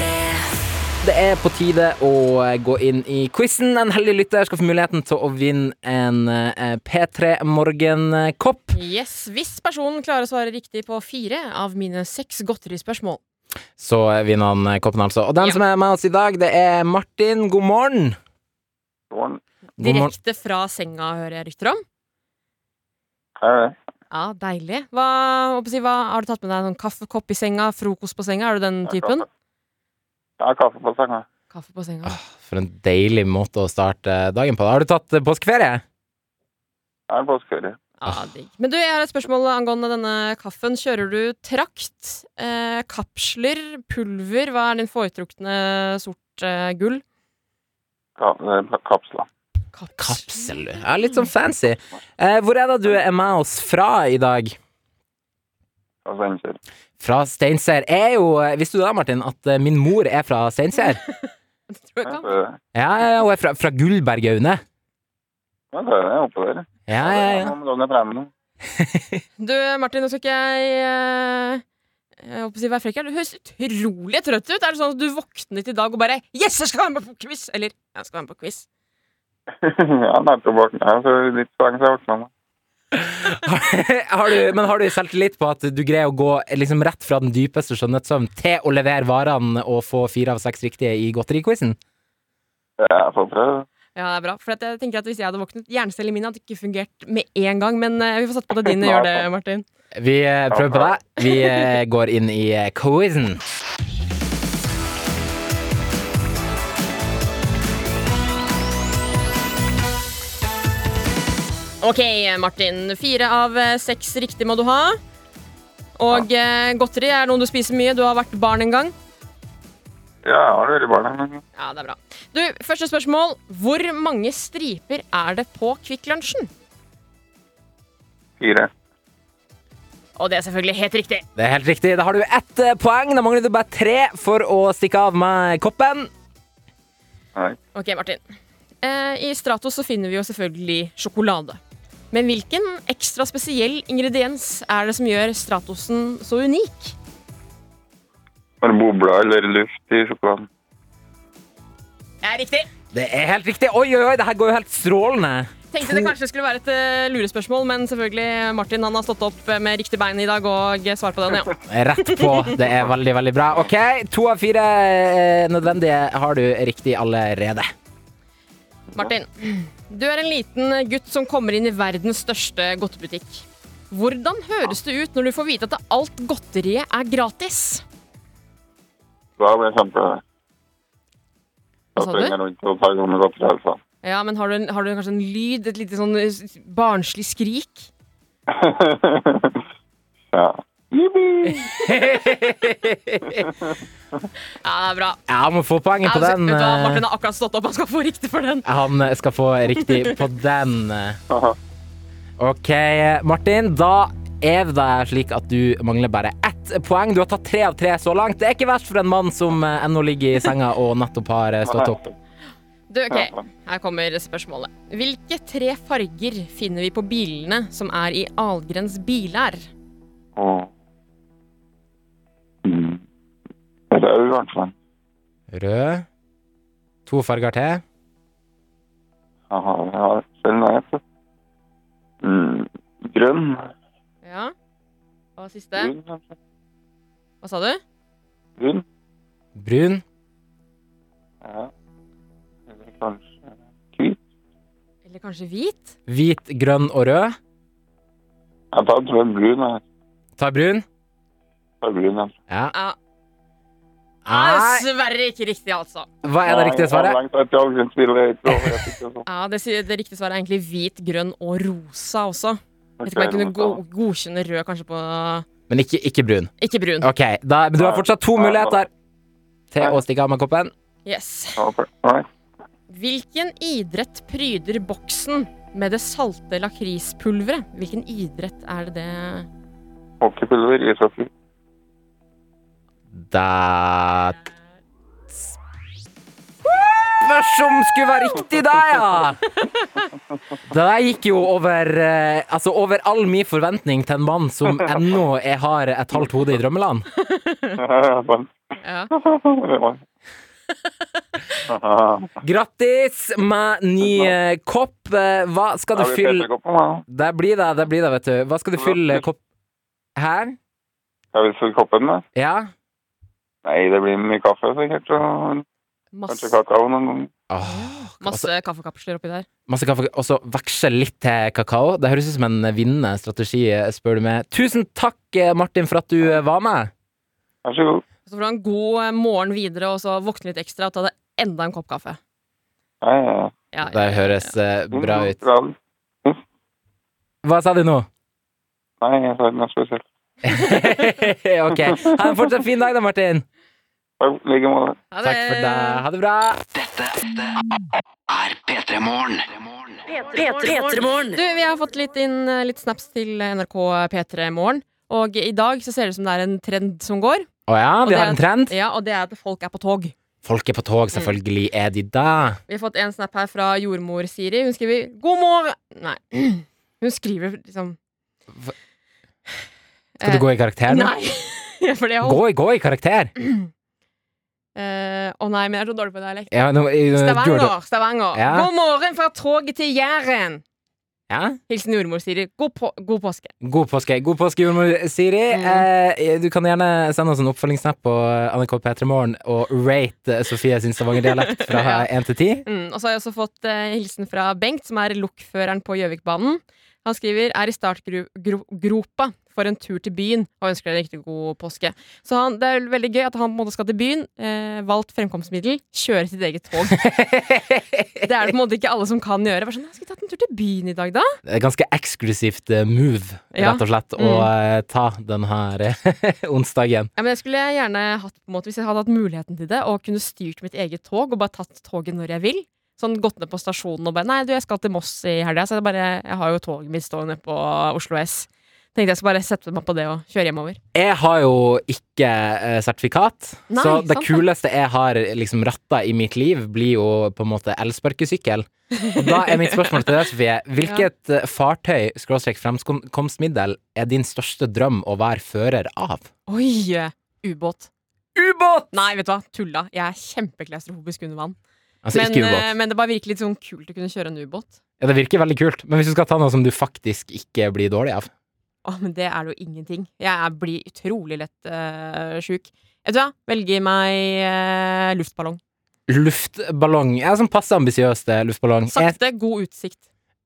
Det er på tide å eh, gå inn i quizen. En heldig lytter skal få muligheten til å vinne en eh, P3 eh, Morgen-kopp. Yes, Hvis personen klarer å svare riktig på fire av mine seks godterispørsmål. Så vinner han koppen, altså. Og den Ja. som er med oss i dag, det er Martin. God morgen. God Morgen. morgen. Direkte fra senga, hører jeg rykter om. Er det? Ja, deilig. Hva, hva, hva, har du tatt med deg en sånn kaffekopp i senga, frokost på senga? Er du den Jeg har typen? kaffe. Jeg har kaffe på senga. Kaffe på senga. For en deilig måte å starte dagen på. Har du tatt eh, påskeferie? Jeg er en påskeferie. Ja, digg. Men du, jeg har et spørsmål angående denne kaffen. Kjører du trakt, eh, kapsler, pulver? Hva er din foretrukne sort eh, gull? Ka eh, kapsla. Kapsel, du. Ja, litt sånn fancy. Eh, hvor er det du er med oss fra i dag? Og sender. Fra Steinkjer. Er jo eh, Visste du da, Martin, at eh, min mor er fra Steinkjer? Det tror jeg Ja, ikke. det Ja, ja, ja, hun er fra, fra Gullbergaune. ja, det er det oppe der. Ja, ja, ja. Noen ganger fremme. Du, Martin, nå skal ikke jeg eh, jeg håper å si, Vær frekk her. Du høres utrolig trøtt ut. Er det sånn at du våknet i dag og bare Yes, jeg skal være med på quiz! Eller jeg skal være med på quiz. ja, nettopp våkna jeg, så det er litt så lenge siden jeg våkna. nå. har du, men har du selvtillit på at du greier å gå liksom rett fra den dypeste skjønnhetssøvn til å levere varene og få fire av seks riktige i godteriquizen? Jeg får prøve. Ja, det er bra. For at jeg tenker at Hvis jeg hadde våknet, hjernecellene mine hadde ikke fungert med en gang. Men eh, vi får satse på at dine Nei, gjør det, sant. Martin. Vi eh, prøver på det. Vi eh, går inn i eh, quizen. Ok, Martin. Fire av eh, seks riktig må du ha. Og eh, godteri er noe du spiser mye. Du har vært barn en gang. Ja, jeg har vært barn en gang. Ja, det er bra. Du, Første spørsmål. Hvor mange striper er det på Kvikk Lunsjen? Fire. Og det er selvfølgelig helt riktig. Det er helt riktig. Da har du ett eh, poeng. Da mangler du bare tre for å stikke av med koppen. Nei. Ok, Martin. Eh, I Stratos så finner vi jo selvfølgelig sjokolade. Men hvilken ekstra spesiell ingrediens er det som gjør Stratosen så unik? Var det bobler eller luft i sjokoladen? Det er riktig. Det er helt riktig. Oi, oi, oi, det her går jo helt strålende. Tenkte det kanskje skulle være et eh, lurespørsmål, men selvfølgelig Martin han har stått opp eh, med riktig bein i dag og eh, svarer på den. ja. Rett på. Det er veldig, veldig bra. OK, to av fire eh, nødvendige har du riktig allerede. Martin, du er en liten gutt som kommer inn i verdens største godtebutikk. Hvordan høres det ut når du får vite at alt godteriet er gratis? Da blir jeg kjempeglad. Hva Da sa du? springer jeg rundt og tar noen godteri i halsen. Ja, men har du, en, har du kanskje en lyd, et lite sånn eh, barnslig skrik? ja. Jippi! Ja, det er bra. Jeg må få poenget på Ja, altså, vet den. du hva, Martin eh, har akkurat stått opp, han skal få riktig for den. Han eh, skal få riktig på den. Aha. OK, Martin. Da er det slik at du mangler bare ett poeng. Du har tatt tre av tre så langt. Det er ikke verst for en mann som eh, ennå ligger i senga og nettopp har eh, stått opp. Du, ok, her kommer spørsmålet. Hvilke tre farger finner vi på bilene som er i Algrens bilær? Åh. Mm. Rød, i hvert fall. Rød. To farger til. Aha, jeg har selv nei, vet du. Mm. Grønn. Ja. Og siste. Brun, kanskje. Hva sa du? Brun. Brun. Ja. Eller kanskje hvit. Eller kanskje hvit? Hvit, grønn og rød. Jeg tar tror jeg brun. Jeg Ta brun. tar brun, jeg. Ja. Ja. Ah, Nei, Dessverre ikke riktig, altså. hva er det riktige svaret? Langt etter Algrens bilde, jeg tror. Jeg fikk det sånn. Ja, det, sier- det riktige svaret er egentlig hvit, grønn og rosa også. Vet ikke om jeg kunne go godkjenne rød kanskje på Men ikke, ikke brun. Ikke brun. OK, da, men du har fortsatt to Nei, nei. muligheter til å stikke av med koppen. Yes. Ok, nei. Hvilken idrett pryder boksen med det salte lakrispulveret? Hvilken idrett er det det Hockeypulver, ishockey. Da Spørs om skulle være riktig, da, ja! Det der gikk jo over, eh, altså over all min forventning til en mann som ennå er- har et halvt hode i drømmeland. Ja, sant. Ja. Det var- Aha. Grattis med ny eh, kopp. Eh, Hva skal Da du blir fylle Peterkoppen, da. Der blir det, der blir det, vet du. Hva skal du fylle kopp... Her? Skal vi fylle koppen, da? Ja? Nei, det blir mye kaffe, sikkert. Og kanskje Masse, kakao noen ganger. Åh, altså, masse kaffekapsler oppi der. masse kaffe, og så veksle litt til kakao. Det høres ut som en vinnende strategi, spør du meg. Tusen takk, eh, Martin, for at du eh, var med. Vær så god. Så får du ha en god eh, morgen videre, og så våkne litt ekstra og ta deg enda en kopp kaffe. Ja, ja. Ja, ja, Det ja. høres eh, bra ut. Mm, Bra. Hva sa du nå? Nei, jeg sa ikke noe spesielt. ok. Ha en fortsatt fin dag, da, Martin. Takk, i like måte. Ha det. Takk for deg. Ha det bra. Du, vi har fått litt inn eh, litt snaps til eh, NRK P3 Morgen. Og i dag så ser det ut som det er en trend som går. Å ja, Og det vi har er- en trend. Ja, Og det er at folk er på tog. Folk er på tog, selvfølgelig er de da. Vi har fått en snap her fra jordmor Siri. Hun skriver 'God morgen' Nei. Hun skriver liksom Skal du gå i karakter nå? Eh, Nei! For det holdt. Gå, i- gå i karakter. Eh, Å nei, men jeg er så dårlig på dialekt. Ja, nå, eh, gjorde du- Stavanger, Stavanger. Ja. God morgen fra toget til Jæren. Ja? Hilsen jordmor Siri. God, på god påske. God påske, god påske, jordmor Siri. Mm. Eh, du kan gjerne sende oss en oppfølgingssnap på eh, NRK P3 Morgen og rate eh, Sofie sin stavangerdialekt fra Ja. 1 til 10. Mm, og så har jeg også fått eh, hilsen fra Bengt, som er lokføreren på Gjøvikbanen. Han skriver er i startgropa for en tur til byen og ønsker deg en riktig god påske. Så han, det er veldig gøy at han på en måte skal til byen, eh, valgt fremkomstmiddel, kjøre sitt eget tog. det er det på en måte ikke alle som kan gjøre. Bare sånn, «Jeg Skal vi tatt en tur til byen i dag, da? Det er Eh, ganske eksklusivt eh, move, Ja. Mm. rett og slett, å eh, ta den her eh, onsdagen. Ja, men det skulle jeg gjerne hatt på en måte hvis jeg hadde hatt muligheten til det, og kunne styrt mitt eget tog og bare tatt toget når jeg vil. Sånn gått ned på stasjonen og bare Nei, du, jeg skal til Moss i helga, så jeg, bare, jeg har jo toget mitt stående på Oslo S. Tenkte jeg skulle bare sette meg på det og kjøre hjemover. Jeg har jo ikke eh, sertifikat, Nei, så det sant det. kuleste jeg har liksom ratta i mitt liv, blir jo på en måte elsparkesykkel. Og da er mitt spørsmål til deg, Sofie, hvilket eh, fartøy, skråstrek fremkomstmiddel, er din største drøm å være fører av? Oi! eh, Ubåt. Ubåt! Nei, vet du hva, tulla. Jeg er kjempeklaustrofobisk under vann. Altså, men, ikke eh, ubåt. men det bare virker litt sånn kult å kunne kjøre en ubåt. Ja, det virker veldig kult, men hvis du skal ta noe som du faktisk ikke blir dårlig av Å, men det er det jo ingenting. Jeg er, blir utrolig lett uh, sjuk. Vet du hva, velger meg eh, luftballong. Luftballong. Jeg er sånn passe ambisiøs eh, luftballong. Jeg, Sakte, god utsikt.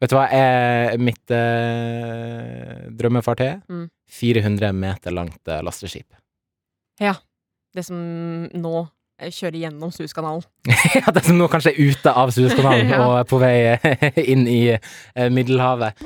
vet du hva er mitt eh, drømmefartøy? er? Mm. 400 meter langt eh, lasteskip. det som nå eh, kjører gjennom Suskanalen. ja, det som nå kanskje er ute av Suezkanalen Ja. og er på vei eh, inn i eh, Middelhavet.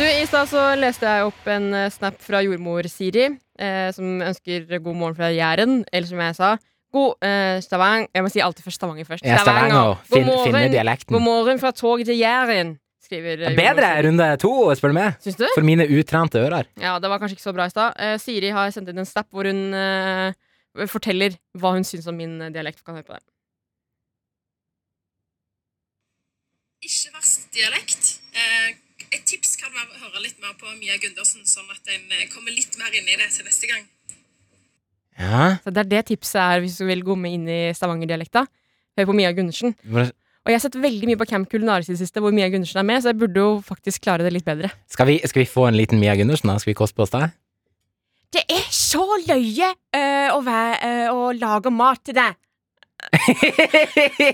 Du, I stad så leste jeg opp en eh, snap fra jordmor Siri, eh, som ønsker god morgen fra Jæren. Eller som jeg sa, god eh, Stavang... Jeg må si alltid først Stavanger først. Ja, Stavanger. Fin, God morgen. finne God dialekten. morgen fra tog til Jæren, skriver eh, jordmor Bedre Siri. runde to, spør du meg. Syns du? For mine utrente ører. Ja, det var kanskje ikke så bra i stad. Eh, Siri har sendt inn en snap hvor hun eh, forteller hva hun syns om min eh, dialekt. Vi Kan høre på det. Ikke verst dialekt. Eh, et tips kan være å høre litt mer på Mia Gundersen, sånn at en eh, kommer litt mer inn i det til neste gang. Ja. Så det er det tipset er hvis du vil gomme inn i Stavanger-dialekta. Hør på Mia Gundersen. Og jeg har sett veldig mye på Camp Kulinaris i det siste, hvor Mia Gundersen er med, så jeg burde jo faktisk klare det litt bedre. Skal vi, skal vi få en liten Mia Gundersen, da? Skal vi koste på oss det? Det er så løye øh, å, lage mat til deg.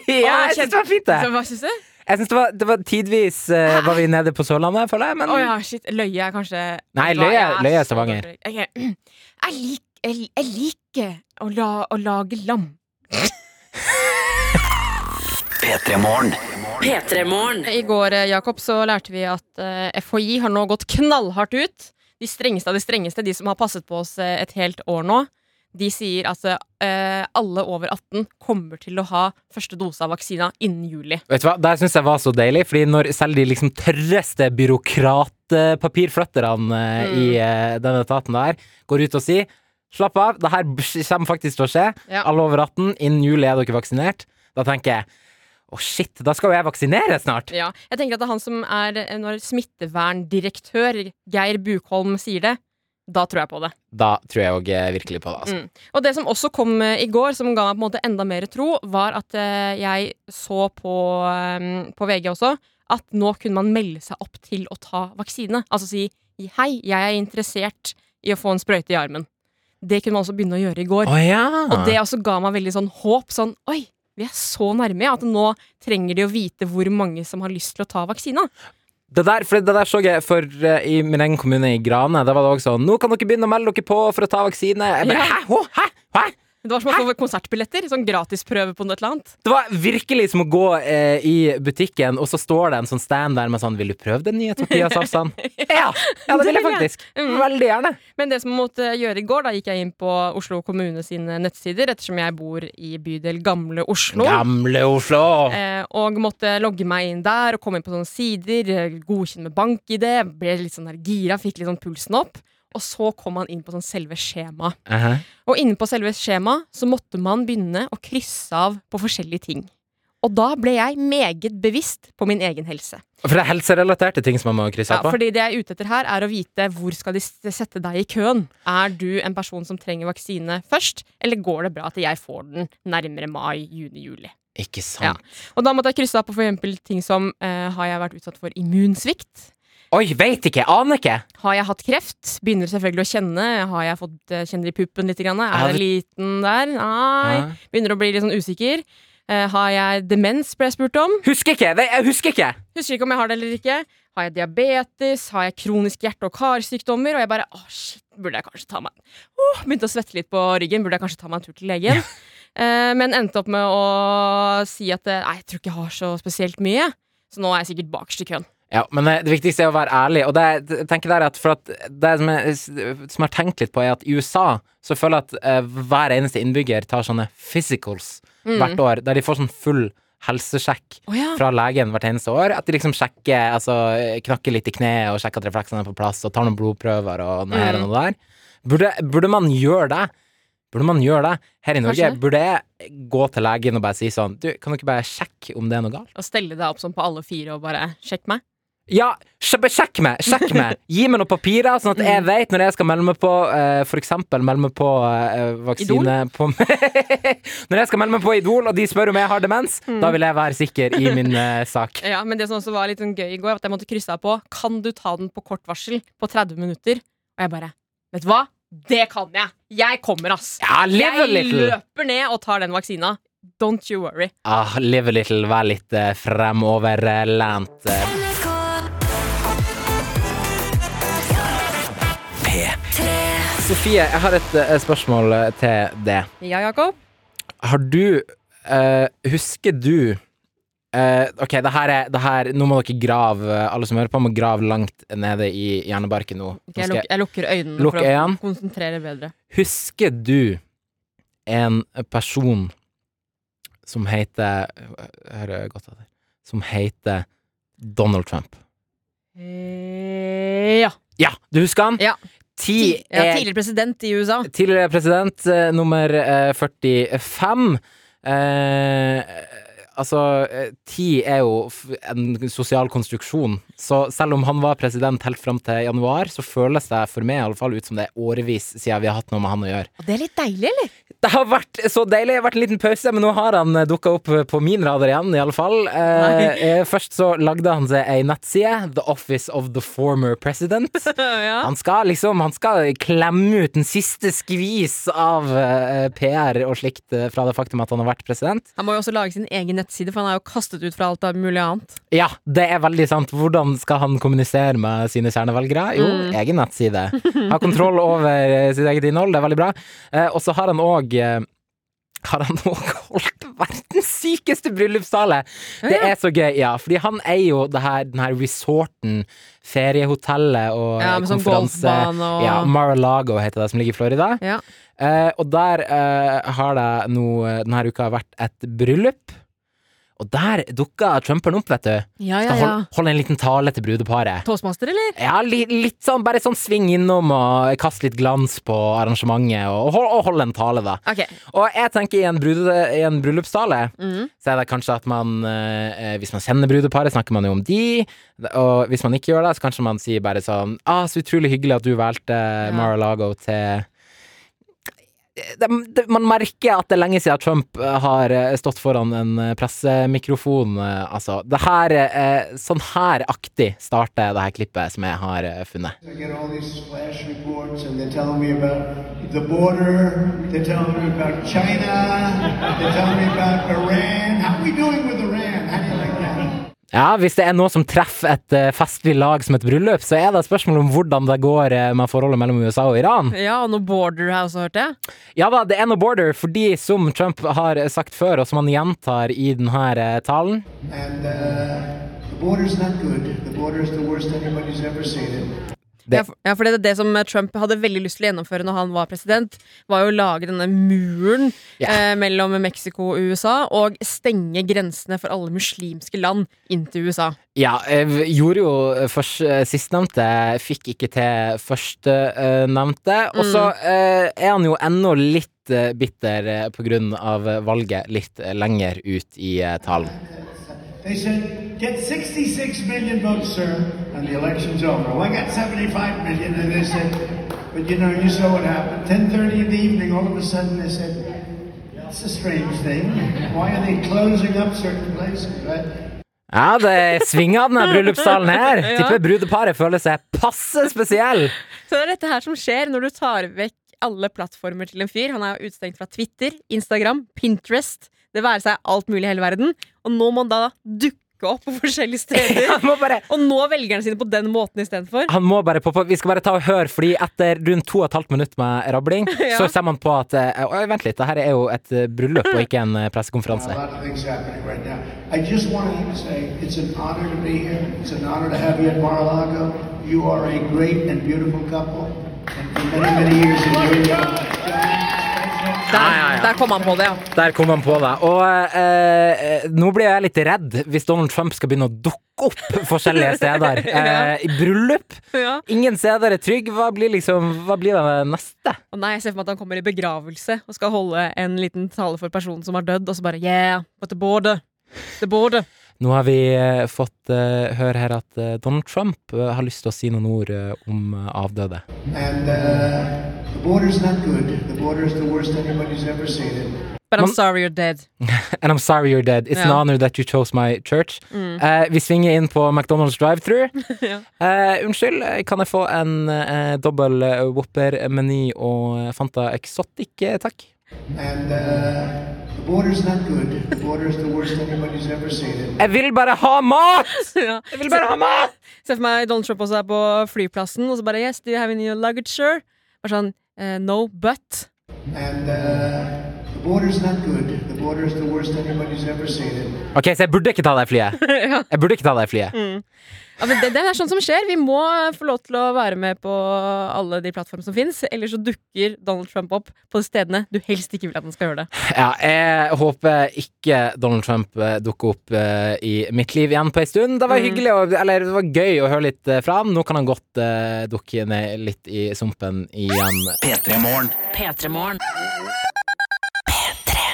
ja, jeg syns det var fint, det. Så hva syns du? Jeg synes det var, det var Tidvis eh, var vi nede på Sørlandet, føler jeg, men Ah. Å ja, shit. Løye er kanskje Nei, Vet du hva, løye- jeg løye er så Stavanger. dårlig. Ok. Jeg, lik, jeg, jeg liker å, la, å lage lam. I går, eh, Jakob, så lærte vi at eh, FHI har nå gått knallhardt ut. De strengeste av de strengeste, de som har passet på oss eh, et helt år nå, de sier at eh, alle over 18 kommer til å ha første dose av vaksina innen juli. Vet du hva, Der syns jeg var så deilig, Fordi når selv de liksom tørreste byråkratpapirflytterne eh, i Mm. eh, denne etaten der går ut og sier Slapp av, det her b- kommer faktisk til å skje. Ja. Alle over 18, innen juli er dere vaksinert. Da tenker jeg å shit, da skal jo jeg vaksinere snart! Ja, jeg tenker at det er han som er eh, Når smitteverndirektør Geir Bukholm sier det, da tror jeg på det. Da tror jeg òg virkelig på det. Altså. Mm. Og det som også kom eh, i går, som ga meg på en måte enda mer tro, var at eh, jeg så på, eh, på VG også at nå kunne man melde seg opp til å ta vaksine. Altså si hei, jeg er interessert i å få en sprøyte i armen. Det kunne man også begynne å gjøre i går. Å ja! Og det også ga meg veldig sånn håp. Sånn oi, vi er så nærme ja, at nå trenger de å vite hvor mange som har lyst til å ta vaksina. Det der, for det der så jeg for eh, i min egen kommune, i Grane. Da var det også sånn Nå kan dere begynne å melde dere på for å ta vaksine. Jeg bare, Ja. hæ? Hå? Hæ? Hæ? Det var som å få konsertbilletter. Sånn gratisprøve på noe eller annet. Det var virkelig som å gå eh, i butikken, og så står det en sånn stand der med sånn Vil du prøve den nye tortillasafsaen? ja, ja, det vil jeg faktisk. Mm. Veldig gjerne. Men det som jeg måtte gjøre i går, da gikk jeg inn på Oslo kommune sine nettsider, ettersom jeg bor i bydel Gamle Oslo. Gamle Oslo. Eh, og måtte logge meg inn der og komme inn på sånne sider. eh, Godkjenne med bank-ID. Ble litt sånn her gira, fikk litt sånn pulsen opp. Og så kom man inn på sånn selve skjemaet. Aha. Og inne på selve skjemaet så måtte man begynne å krysse av på forskjellige ting. Og da ble jeg meget bevisst på min egen helse. For det er helserelaterte ting som man må krysse Ja, av på. fordi det jeg er ute etter her, er å vite hvor skal de s- sette deg i køen. Er du en person som trenger vaksine først, eller går det bra at jeg får den nærmere mai, juni, juli? Ikke sant. Og da måtte jeg krysse av på for eksempel ting som eh, har jeg vært utsatt for immunsvikt? Oi, veit ikke. Aner ikke. Har jeg hatt kreft? Begynner selvfølgelig å kjenne. Har jeg fått eh, kjenner i puppen litt? Grann? Ja, Er det liten der? Nei. Ja. Begynner å bli litt sånn usikker. Eh, har jeg demens, ble jeg spurt om. Husker ikke. Ve- Jeg husker ikke. Husker ikke om jeg har det eller ikke. Har jeg diabetes? Har jeg kronisk hjerte- og karsykdommer? Og jeg bare Å, shit, burde jeg kanskje ta meg oh, Begynte å svette litt på ryggen. Burde jeg kanskje ta meg en tur til legen? Eh, men endte opp med å si at eh, nei, jeg tror ikke jeg har så spesielt mye. Så nå er jeg sikkert bakerst i køen. Ja, men eh, det viktigste er å være ærlig. Og det, jeg tenker der er at, for at det som jeg, som jeg har tenkt litt på, er at i USA så føler jeg at eh, hver eneste innbygger tar sånne physicals Mm. hvert år, der de får sånn full helsesjekk Å ja. fra legen hvert eneste år. At de liksom sjekker, altså eh, knakker litt i kneet og sjekker at refleksene er på plass, og tar noen blodprøver og noe Mm. her og noe der. Burde, burde man gjøre det? Burde man gjøre det her i Norge? Kanskje. Burde jeg gå til legen og bare si sånn Du, kan du ikke bare sjekke om det er noe galt? Og stelle deg opp sånn på alle fire og bare Sjekk meg. Ja, sj- bare sjekk meg! Sjekk meg! Gi meg noen papirer, sånn at Mm. jeg vet når jeg skal melde meg på eh, For eksempel melde meg på eh, vaksine på Når jeg skal melde meg på Idol, og de spør om jeg har demens, Mm. da vil jeg være sikker i min eh, sak. Ja, Men det som også var litt sånn gøy i går, var at jeg måtte krysse av på Kan du ta den på kort varsel på 30 minutter? Og jeg bare Vet du hva? Det kan jeg! Jeg kommer, ass! Ja, live a Jeg little! løper ned og tar den vaksina. Don't you worry. Ah, live a little, vær litt eh, fremoverlent. eh. Sofie, jeg har et eh, spørsmål eh, til deg. Ja, Jakob? Har du eh, Husker du Eh, ok, det her er det her, Nå må dere grave Alle som hører på, må grave langt nede i hjernebarken nå. Ok, nå Jeg, skal jeg, luk jeg lukker øynene Lukk for å øynene. konsentrere bedre. husker du en person som heter Hører godt etter. Som heter Donald Trump. Eh, Ja. eh, Ja, du husker han? Ja. Ti Ja, er tidligere president i USA. Tidligere president, eh, nummer eh, 45. Eh, altså, eh, ti er jo f- en sosial konstruksjon. Så selv om han var president helt fram til januar, så føles det for meg i alle fall ut som det er årevis siden vi har hatt noe med han å gjøre. Og det er litt deilig, eller? Det har vært så deilig. Det har vært en liten pause, men nå har han dukka opp eh, på min radar igjen, i alle fall. Eh, eh, først så lagde han seg ei nettside, The Office of the Former President. Ja. Han skal liksom Han skal klemme ut en siste skvis av eh, PR og slikt eh, fra det faktum at han har vært president. Han må jo også lage sin egen nettside, for han er jo kastet ut fra alt av mulig annet. Ja, det er veldig sant. Hvordan skal han kommunisere med sine kjernevelgere? Jo, Mm. egen nettside. Ha kontroll over eh, sitt eget innhold, det er veldig bra. Eh, og så har han òg har han òg holdt verdens sykeste bryllupstale! Det er så gøy, ja. Fordi han eier jo det her, den her resorten, feriehotellet og eh, Ja, med sånn konferanse... golfbane og- Ja, Mar-a-Lago heter det som ligger i Florida. Ja. Eh, og der eh, har det nå eh, denne uka vært et bryllup. Og der dukka Trumperen opp, vet du. Ja, Skal holde, holde en liten tale til brudeparet. Toastmaster, eller? Ja, li, litt sånn, bare sånn sving innom og kaste litt glans på arrangementet, og, hol- og holde en tale, da. Ok. Og jeg tenker i en, brude, i en bryllupstale Mm. så er det kanskje at man eh, eh, Hvis man kjenner brudeparet, snakker man jo om de, og hvis man ikke gjør det, så kanskje man sier bare sånn ah, så utrolig hyggelig at du valgte Mar-a-Lago til det, det, man merker at det er lenge siden Trump eh, har eh, stått foran en eh, pressemikrofon. eh, Altså, det her eh, Sånn her aktig starter det her klippet som jeg har eh, funnet. I get all these flash reports, and they're telling me about the border. They're telling me about China. They're telling me about Iran. How are we doing with Iran? How do you like that? Ja, Hvis det er noe som treffer et eh, festlig lag som et bryllup, så er det et spørsmål om hvordan det går eh, med forholdet mellom USA og Iran. Ja, og noe border har jeg også hørt det. Ja da, det er no border, fordi som Trump har sagt før, og som han gjentar i denne talen And uh, the border's not good. The border's the worst anybody's ever seen it. Det- Ja, for, ja, for det, det som Trump hadde veldig lyst til å gjennomføre når han var president, var jo å lage denne muren Ja. eh, mellom Mexico og USA, og stenge grensene for alle muslimske land inn til USA. Ja, eh, gjorde jo først, eh, sistnevnte, fikk ikke til førstnevnte. Og så eh, er han jo ennå litt eh, bitter eh, på grunn av valget litt eh, lenger ut i eh, talen. They said, get 66 million votes, sir, and the election's over. Well, I got 75 million, and they said, but you know, you saw what happened. 10.30 in the evening, all of a sudden, they said, that's a strange thing. Why are they closing up certain places, right? Ja, det svinger denne bryllupstalen her. Tipper brudeparet føler seg passe spesiell. Så det er dette her som skjer når du tar vekk alle plattformer til en fyr. Han er jo utestengt fra Twitter, Instagram, Pinterest, det være seg alt mulig i hele verden. Og nå må han da dukke opp på forskjellige steder. Han må bare Og nå velgerne sine på den måten istedenfor. Han må bare poppe opp. Vi skal bare ta og høre, fordi etter rundt to og et halvt minutt med rabling, Ja. så ser man på at eh, «Oi, Vent litt, det her er jo et eh, bryllup og ikke en eh, pressekonferanse. A lot of things happening right now. I just want to say it's an honor to be here. It's an honor to have you at Mar-a-Lago. You are a great and beautiful couple. And for many, many years, enjoy your Ah, Der, der kom han på det, ja. Der kom han på det. Og eh, eh, nå blir jeg litt redd hvis Donald Trump skal begynne å dukke opp forskjellige steder. Eh, I bryllup. ja. Ingen steder er trygg. Hva blir liksom Hva blir det neste? Og nei, jeg ser for meg at han kommer i begravelse og skal holde en liten tale for personen som har dødd, og så bare yeah, but the border. The border. Nå har vi eh, fått eh, høre her at eh, Donald Trump eh, har lyst til å si noen ord eh, om eh, avdøde. And uh, the border's not good. The border's the worst anybody's ever seen it. But I'm Man- sorry you're dead. And I'm sorry you're dead. It's an Ja. Mm. honor that you chose my church. Eh, vi svinger inn på McDonald's drive-thru. Ja. Eh, unnskyld, eh, kan jeg få en uh, dobbel eh, Whopper-meny og eh, Fanta Exotic, eh, takk? And uh, the border's not good. The border's the worst anybody's ever seen it. Jeg vil bare ha mat! ja. Jeg vil bare ha mat! Se for meg Donald Trump også er på flyplassen, og så bare Yes, do you have any luggage, sir? Bare sånn eh, No, but. And uh, the border's not good. The border is the worst anybody's ever seen it. OK, så jeg burde ikke ta det flyet. Jeg burde ikke ta det flyet. Ja, men det, det er sånt som skjer. Vi må få lov til å være med på alle de plattformene som fins. Ellers så dukker Donald Trump opp på de stedene du helst ikke vil at han skal gjøre det. Ja, jeg håper ikke Donald Trump eh, dukker opp eh, i mitt liv igjen på ei stund. Mm. Det var hyggelig, å- eller det var gøy å høre litt eh, fra ham. Nå kan han godt eh, dukke ned litt i sumpen igjen. P3morgen.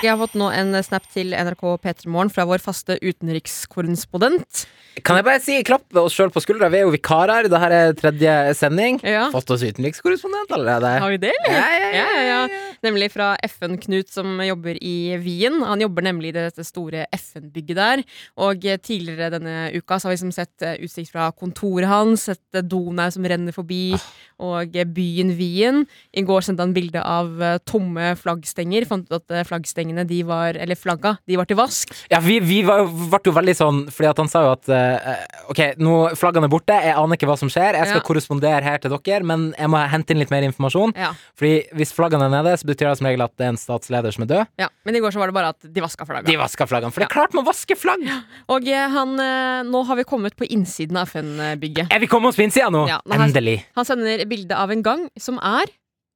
Jeg har fått nå en snap til NRK P3 Morgen fra vår faste utenrikskorrespondent. Kan jeg bare si klapp oss sjøl på skuldra? Vi er jo vikarer. Dette er tredje sending. Ja. Fått oss utenrikskorrespondent allerede. Har vi det, eller? Ja, ja, ja, ja, Nemlig fra FN-Knut, som jobber i Wien. Han jobber nemlig i dette store FN-bygget der. Og eh, tidligere denne uka så har vi liksom sett eh, utsikt fra kontoret hans, sett eh, Donau som renner forbi, og eh, byen Wien. I går sendte han bilde av eh, tomme flaggstenger. Fant ut at eh, flaggstengene, de var, eller flagga, de var til vask. Ja, vi, vi var, jo- ble jo veldig sånn, fordi at han sa jo at eh, OK, nå flaggene er borte, jeg aner ikke hva som skjer, jeg skal Ja. korrespondere her til dere, men jeg må hente inn litt mer informasjon. Ja. Fordi hvis flaggene er nede, så betyr det som regel at det er en statsleder som er død. ja. Men i går så var det bare at de vaska flagga. De vasker flaggene, for det er klart man vasker flagg! Og eh, han, eh, nå har vi kommet på innsiden av FN-bygget. Er vi kommet oss på innsida nå? Ja, men her- Endelig! Han sender bilde av en gang som er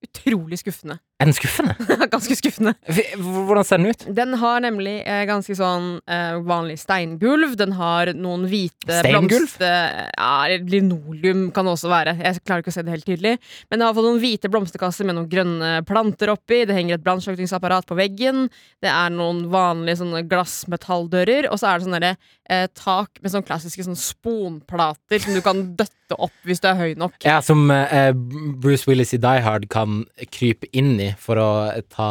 utrolig skuffende. Er den skuffende? Ganske skuffende. Vi- Hvordan ser den ut? Den har nemlig eh, ganske sånn eh, vanlig steingulv. Den har noen hvite Steingulv? blomster... Ja, eller linoleum kan det også være. Jeg klarer ikke å se det helt tydelig. Men det har fått noen hvite blomsterkasser med noen grønne planter oppi. Det henger et brannslukningsapparat på veggen. Det er noen vanlige sånne glassmetalldører. Og så er det sånne der, eh, tak med sånne klassiske sånne sponplater som du kan døtte opp hvis du er høy nok. Ja, som eh, Bruce Willis i Die Hard kan krype inn i for å ta,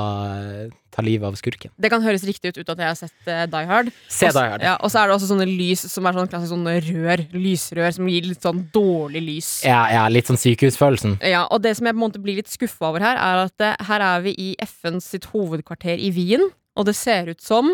ta livet av skurken. Det kan høres riktig ut uten at jeg har sett eh, Die Hard. Se Og s- Die Hard. Ja, og så er det også sånne lys som er sånn klassisk sånne rør, lysrør, som gir litt sånn dårlig lys. Ja, ja, litt sånn sykehusfølelsen. Ja, og det som jeg på en måte blir litt skuffa over her, er at eh, her er vi i FN sitt hovedkvarter i Wien, og det ser ut som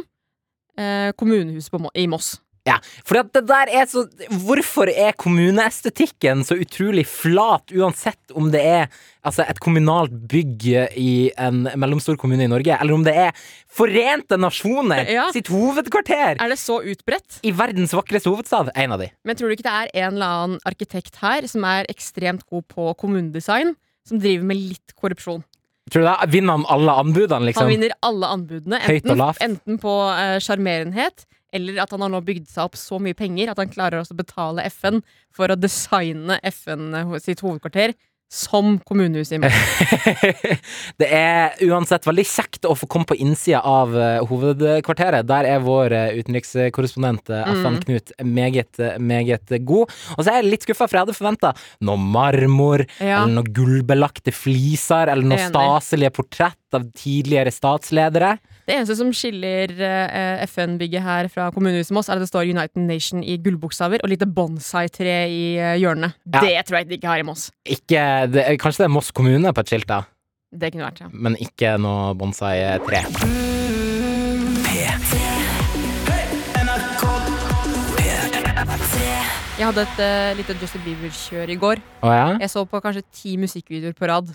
eh, kommunehuset på Mo i Moss. Ja, fordi at det der er så Hvorfor er kommuneestetikken så utrolig flat, uansett om det er altså, et kommunalt bygg i en mellomstor kommune i Norge, eller om det er Forente nasjoner Ja. sitt hovedkvarter Er det så utbredt? i verdens vakreste hovedstad? En av de. Men tror du ikke det er en eller annen arkitekt her som er ekstremt god på kommunedesign, som driver med litt korrupsjon? Tror du da vinner han alle anbudene, Han liksom? vinner alle anbudene, Høyt og enten, lavt. enten på eh, sjarmerenhet eller at han har nå bygd seg opp så mye penger at han klarer også å betale FN for å designe FN sitt hovedkvarter som kommunehuset i Moss. det er uansett veldig kjekt å få komme på innsida av eh, hovedkvarteret. Der er vår eh, utenrikskorrespondent eh, FN Mm. Knut meget, eh, meget god. Og så er jeg litt skuffa, for jeg hadde forventa noe marmor, Ja. eller noe gullbelagte fliser, eller noe Enig. staselige portrett av tidligere statsledere. Det eneste som skiller eh, FN-bygget her fra kommunehuset i Moss, er at det står United Nation i gullbokstaver og lite bonsai-tre i eh, hjørnet. Ja. Det tror jeg de ikke har i Moss. Ikke, det, kanskje det er Moss kommune på et skilt, da, Det kunne vært, ja. men ikke noe eh, bonsai-tre. Jeg hadde et eh, lite Justin Bieber-kjør i går. Å ja? Jeg så på kanskje ti musikkvideoer på rad.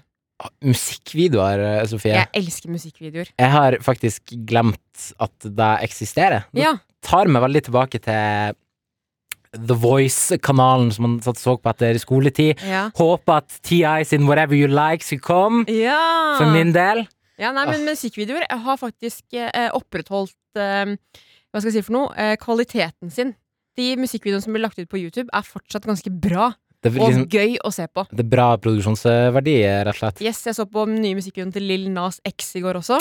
Musikkvideoer, eh, Sofie. Jeg elsker musikkvideoer. Jeg har faktisk glemt at det eksisterer. Det Ja. tar meg veldig tilbake til The Voice-kanalen som man satt og så på etter skoletid. Ja. Håper at TI sin Whatever You Like skulle komme. Ja. For min del. ja nei, men musikkvideoer har faktisk eh, opprettholdt eh, Hva skal jeg si for noe? Eh, kvaliteten sin. De musikkvideoene som blir lagt ut på YouTube, er fortsatt ganske bra Det er, og liksom, gøy å se på. det er bra produksjonsverdi, rett og slett. Yes, Jeg så på den nye musikkvideoen til Lill Nas X i går også.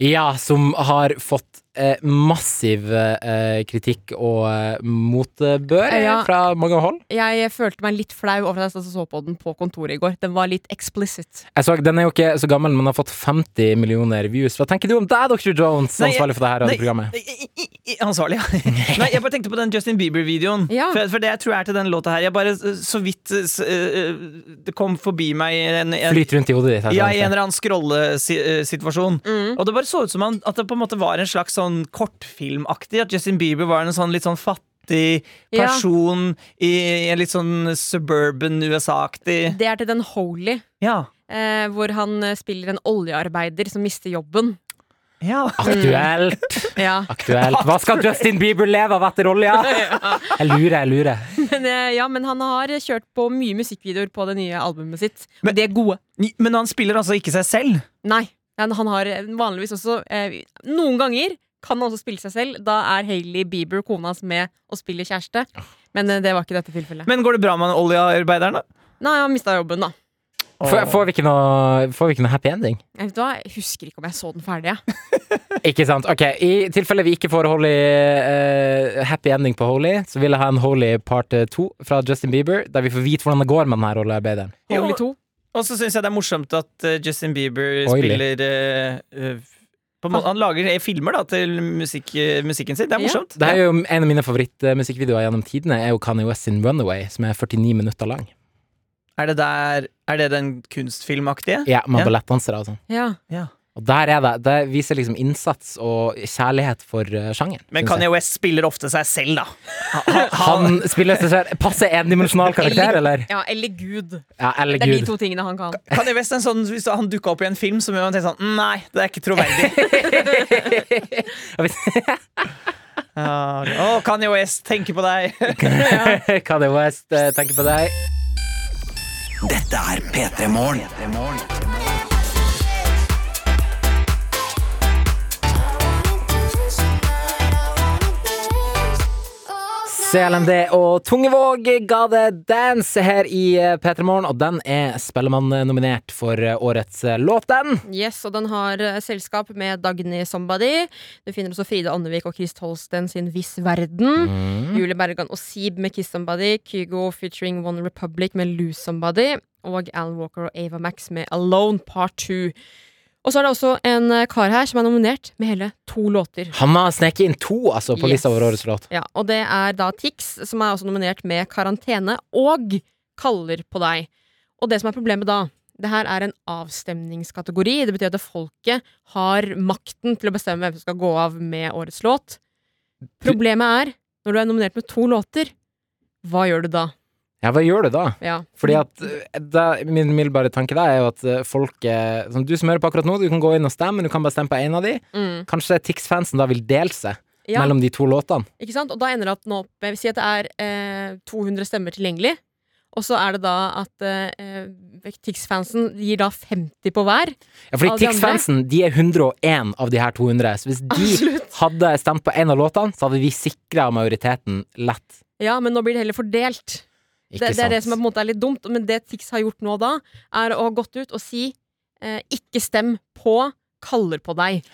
Ja, som har fått eh, massiv eh, kritikk og eh, motbør eh, Ja. fra mange hold. Jeg eh, følte meg litt flau over at jeg satt og så på den på kontoret i går. Den var litt explicit. Jeg så, den er jo ikke så gammel, men har fått 50 millioner views. Hva tenker du om deg, Dr. Jones, Nei, jeg- ansvarlig for det her Nei, radioprogrammet? i- i- i- Ansvarlig, ja. Nei, jeg bare tenkte på den Justin Bieber-videoen. Ja. For, for det jeg tror jeg er til den låta her. Jeg bare eh, så vidt eh, s- eh, eh, Det kom forbi meg en, en Flyter rundt i hodet ditt. her, ja, sånn. i en eller annen scrollesituasjon. Mm. Og det bare så ut som han, at det på en måte var en slags sånn kortfilmaktig. At Justin Bieber var en sånn litt sånn fattig Ja. person i en litt sånn suburban USA-aktig Det er til den Holy, Ja. eh, hvor han eh, spiller en oljearbeider som mister jobben. Ja. Aktuelt! Ja. Aktuelt. Hva skal Justin Bieber leve av etter olja? Jeg lurer, jeg lurer. Men, eh, ja, men han har kjørt på mye musikkvideoer på det nye albumet sitt. Men de er gode. Men han spiller altså ikke seg selv? Nei. Han han har vanligvis også eh, Noen ganger kan han også spille seg selv. Da er Hailey Bieber, kona hans, med og spiller kjæreste. Men eh, det var ikke dette tilfellet. Men går det bra med han oljearbeideren, da? Nei, han mista jobben, da. Får, får, vi ikke noe, får vi ikke noe happy ending? Jeg vet hva, jeg husker ikke om jeg så den ferdig. jeg. Ikke sant? Ok, I tilfelle vi ikke får Holy eh, happy ending på Holy, så vil jeg ha en Holy part 2 fra Justin Bieber, der vi får vite hvordan det går med denne rollearbeideren. Jo. Holy 2. Og så syns jeg det er morsomt at eh, Justin Bieber Oily. spiller eh, eh, på en måte, Han lager eh, filmer da til musikk, eh, musikken sin. Det er Ja. morsomt. Det er jo En av mine favorittmusikkvideoer gjennom tidene er jo Kanye West sin Runaway, som er 49 minutter lang. Er det der Er det den kunstfilmaktige? Ja, Med Ja. ballettdansere og sånn. Ja. Ja. Og der er det Det viser liksom innsats og kjærlighet for eh, sjangeren. Men synes Kanye jeg. West spiller ofte seg selv, da. Han, Han spiller seg selv Passer endimensjonal karakter, eller? ja, eller Gud. Ja, eller Det er de gud. to tingene han kan. Kanye West er en sånn, Hvis han dukka opp i en film, så må man tenke sånn "Mm, Nei, det er ikke troverdig. Ja, Å, Kanye West, tenker på deg. Kanye West, eh, tenker på deg. Dette er P3 Morgen. CLMD og Tungevåg ga det dance her i eh, P3 Morgen, og den er Spellemann-nominert for eh, årets eh, låt, den. Yes, og den har eh, selskap med Dagny Somebody. Du finner også Fride Andevik og Chris Holsten sin Viss verden. Julie Bergan og Seeb med Kiss Somebody. Kygo featuring One Republic med Lose Somebody. Og Alan Walker og Ava Max med Alone Part 2. Og så er det også en eh, kar her som er nominert med hele to låter. Han har sneket inn to altså, på Yes. lista over årets låt. Ja, og det er da Tix, som er også nominert med Karantene og Kaller på deg. Og det som er problemet da, det her er en avstemningskategori. Det betyr at folket har makten til å bestemme hvem som skal gå av med årets låt. Problemet er, når du er nominert med to låter, hva gjør du da? Ja, hva gjør du da? Ja. Fordi at Mm. eh, da, Min umiddelbare tanke da er jo at eh, folk eh, som Du som hører på akkurat nå, du kan gå inn og stemme, men du kan bare stemme på én av de. Mm. Kanskje Tix-fansen da vil dele seg ja. mellom de to låtene. Ikke sant? Og da ender det at nå opp med Si at det er eh, 200 stemmer tilgjengelig. Og så er det da at eh, Tix-fansen gir da 50 på hver. Ja, fordi Alle de andre? Tix-fansen de er 101 av de her 200, så hvis de Absolutt. hadde stemt på én av låtene, så hadde vi sikra majoriteten lett. Ja, men nå blir det heller fordelt. Ikke det, det sant? er det som er, på en måte er litt dumt, men det Tix har gjort nå da, er å ha gått ut og si eh, ikke stem på kaller på deg.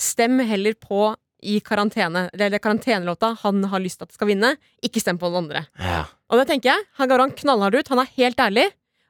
Stem heller på i karantene. Det er det karantenelåta han har lyst til at skal vinne. Ikke stem på den andre. ja. Og det tenker jeg. Han går han knallhardt ut. Han er helt ærlig.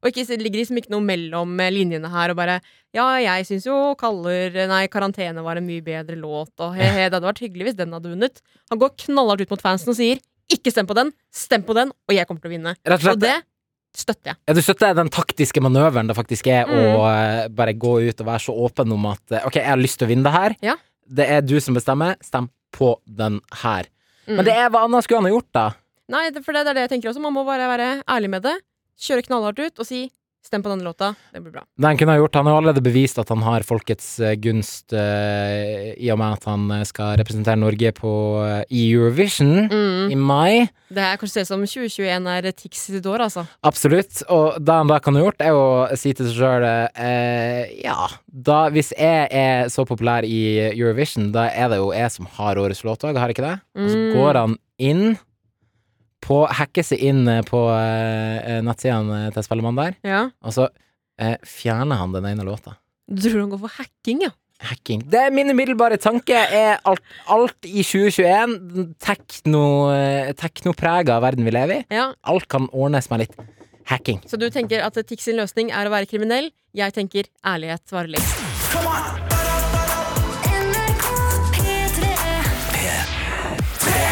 Og ikke, det ligger liksom ikke noe mellom eh, linjene her og bare Ja, jeg syns jo kaller Nei, karantene var en mye bedre låt, og he-he, det hadde vært hyggelig hvis den hadde vunnet. Han går knallhardt ut mot fansen og sier ikke stem på den, stem på den, og jeg kommer til å vinne. Rett og slett. Og det støtter jeg. Ja, du støtter den taktiske manøveren det faktisk er å Mm. eh, bare gå ut og være så åpen om at eh, OK, jeg har lyst til å vinne det her. Ja. Det er du som bestemmer. Stem på den her. Mm. Men det er hva annet skulle han ha gjort, da? Nei, det- for det, det er det jeg tenker også. Man må bare være ærlig med det. Kjøre knallhardt ut og si 'stem på denne låta'. Det blir bra. Det han kunne ha gjort, han har jo allerede bevist at han har folkets eh, gunst eh, i og med at han eh, skal representere Norge på eh, i Eurovision i mai. Det her kan se ut som 2021 er Tix sitt år, altså. Absolutt. Og det han da kan ha gjort, er å si til seg sjøl eh, Ja, da, hvis jeg er så populær i Eurovision, da er det jo jeg som har årets låt òg, har ikke det? Og så Mm. går han inn på Hacker seg inn eh, på eh, nettsidene til Spellemann der, Ja. og så eh, fjerner han den ene låta. Du tror han går for hacking, ja? Hacking. Det er min umiddelbare tanke. Er alt, alt i 2021 den tekno, eh, teknoprega verden vi lever i? ja. Alt kan ordnes med litt hacking. Så du tenker at Tix sin løsning er å være kriminell? Jeg tenker ærlighet varer lengst.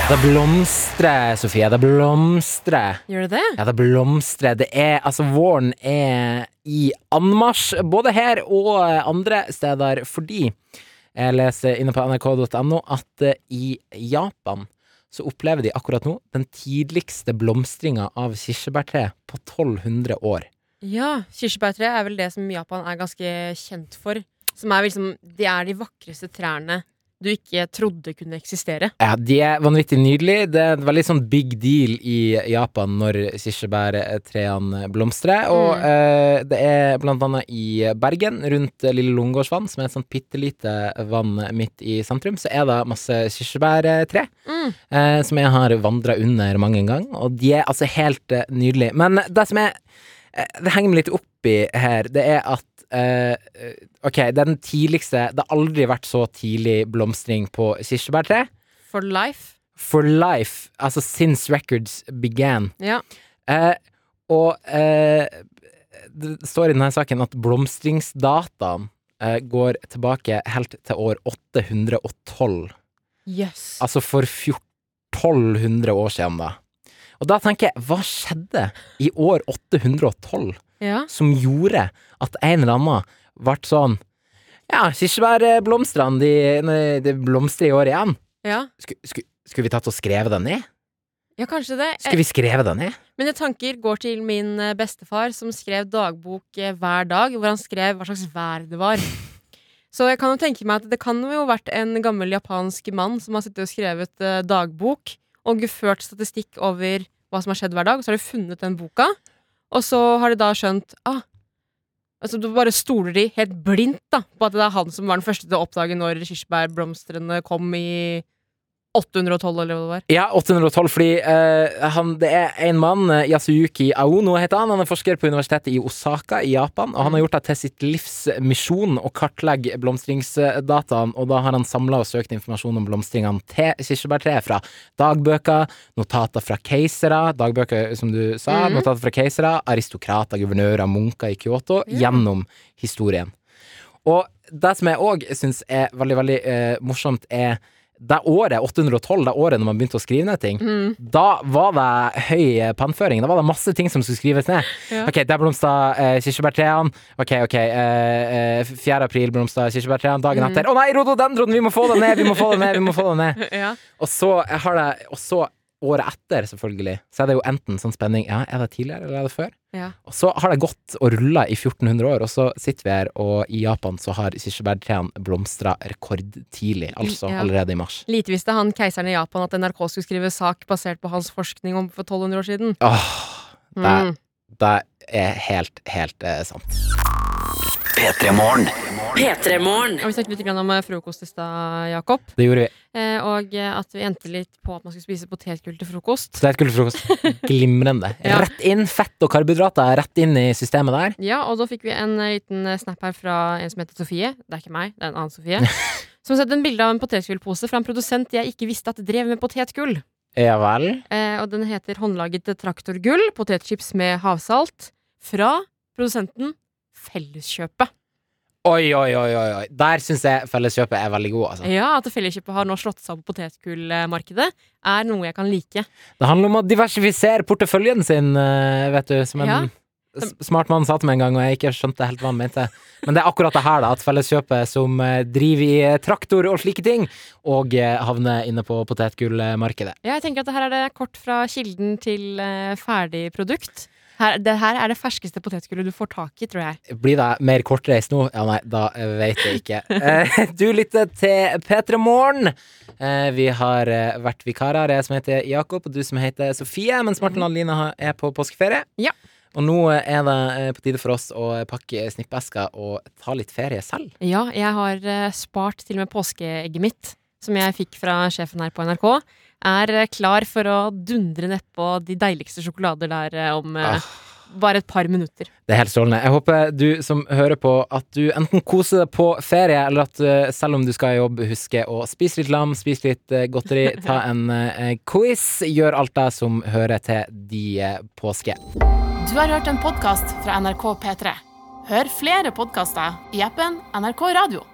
Det blomstrer, Sofie. Det blomstrer. Gjør det det? Ja, det blomstrer. Det er Altså, våren er i anmarsj, både her og andre steder, fordi jeg leser inne på nrk.no at eh, i Japan så opplever de akkurat nå den tidligste blomstringa av kirsebærtre på 1200 år. Ja. Kirsebærtre er vel det som Japan er ganske kjent for. Som er liksom Det er de vakreste trærne du ikke trodde kunne eksistere. Ja, de er vanvittig nydelige. Det er en veldig sånn big deal i Japan når kirsebærtrærne blomstrer. Og Mm. eh, det er blant annet i Bergen, rundt eh, Lille Lungegårdsvann, som er et sånn bitte lite vann midt i sentrum, så er det masse kirsebærtre. Mm. eh, som jeg har vandra under mange ganger, og de er altså helt eh, nydelige. Men det som er eh, Det henger meg litt opp i her, det er at eh, eh, Ok, det er den tidligste Det har aldri vært så tidlig blomstring på kirsebærtre. For life. For life, altså since records began. Ja. Eh, og eh, det står i denne saken at blomstringsdataen eh, går tilbake helt til år 812. Yes. Altså for 14 1200 år siden, da. Og da tenker jeg, hva skjedde i år 812 Ja. som gjorde at en eller annen ble sånn Ja, kirsebærblomstene, de, nei, de blomstrer i år igjen. Ja. Sku- sku- Skulle vi tatt og skrevet den ned? ja, kanskje det. Eh, Skulle vi skrevet den ned? Mine tanker går til min eh, bestefar, som skrev dagbok eh, hver dag, hvor han skrev hva slags vær det var. Så jeg kan jo tenke meg at det kan jo ha vært en gammel japansk mann som har sittet og skrevet eh, dagbok og ført statistikk over hva som har skjedd hver dag, og så har de funnet den boka, og så har de da skjønt ah, Altså, du bare stoler de helt blindt da, på at det er han som var den første til å oppdage når kirsebærblomstene kom i 812, eller hva det var. Ja, 812, fordi eh, han, det er en mann, eh, Yasuyuki Aono heter han. Han er forsker på universitetet i Osaka i Japan, og han har gjort det til sitt livs misjon å kartlegge blomstringsdataen. Og da har han samla og søkt informasjon om blomstringene til kirsebærtreet fra dagbøker, notater fra keisere, dagbøker eh, som du sa, Mhm. notater fra keisere, aristokrater, guvernører, munker i Kyoto, Ja. gjennom historien. Og det som jeg òg syns er veldig, veldig eh, morsomt, er det året, 812, det året når man begynte å skrive ned ting, Mm. da var det høy eh, pannføring. Da var det masse ting som skulle skrives ned. Ja. Ok, der blomsta eh, kirsebærtrærne. Ok, ok, eh, eh, 4. april blomsta kirsebærtrærne. Dagen Mm. etter Å nei, rododendron! Vi må få det ned! Vi må få det ned! vi må få det ned Ja. Og så eh, har det Og så året etter, selvfølgelig, så er det jo enten sånn spenning Ja, er det tidligere, eller er det før? Ja. Og så har det gått og rulla i 1400 år, og så sitter vi her, og i Japan så har kirsebærtrærne blomstra rekordtidlig, altså Ja. allerede i mars. Lite visste han keiseren i Japan at NRK skulle skrive sak basert på hans forskning om for 1200 år siden. Åh, det, Mm. det er helt, helt eh, sant. P3 Morgen. P3morgen. Og vi snakket litt grann om eh, frokost i stad, Jakob. Det gjorde vi. Eh, og eh, at vi endte litt på at man skulle spise potetgull til frokost. Så det er et gullfrokost. Glimrende. Ja. Rett inn. Fett og karbohydrater er rett inn i systemet der. Ja, og da fikk vi en eh, liten eh, snap her fra en som heter Sofie. Det er ikke meg, det er en annen Sofie. Som sendte en bilde av en potetgullpose fra en produsent jeg ikke visste at drev med potetgull. Ja vel. Eh, og den heter håndlaget traktorgull, potetchips med havsalt. Fra produsenten Felleskjøpet. Oi, oi, oi. oi. oi. Der syns jeg Felleskjøpet er veldig god. Altså. Ja, at Felleskjøpet har nå slått seg opp på potetgullmarkedet, er noe jeg kan like. Det handler om å diversifisere porteføljen sin, eh, vet du. Som en Ja. s- smart mann sa til meg en gang, og jeg ikke skjønte helt hva han mente. Men det er akkurat det her, da. At Felleskjøpet, som eh, driver i eh, traktor og slike ting, og eh, havner inne på potetgullmarkedet. Ja, jeg tenker at det her er det kort fra kilden til eh, ferdig produkt. Her, det her er det ferskeste potetgullet du får tak i, tror jeg. Blir det mer kortreist nå? Ja, nei, da vet jeg ikke. Eh, Du lytter til P3 Morgen. Eh, Vi har eh, vært vikarer. Jeg som heter Jakob, og du som heter Sofie. Mens Martin og Adelina har- er på påskeferie. Ja. Og nå eh, er det eh, på tide for oss å pakke snippeska og ta litt ferie selv. Ja, jeg har eh, spart til og med påskeegget mitt, som jeg fikk fra sjefen her på NRK. Er eh, klar for å dundre nedpå de deiligste sjokolader der eh, om eh, Ah. bare et par minutter. Det er helt strålende. Jeg håper du som hører på, at du enten koser deg på ferie, eller at eh, selv om du skal i jobb, husker å spise litt lam, spise litt eh, godteri, ta en eh, quiz. Gjør alt det som hører til de eh, påske. Du har hørt en podkast fra NRK P3. Hør flere podkaster i appen NRK Radio.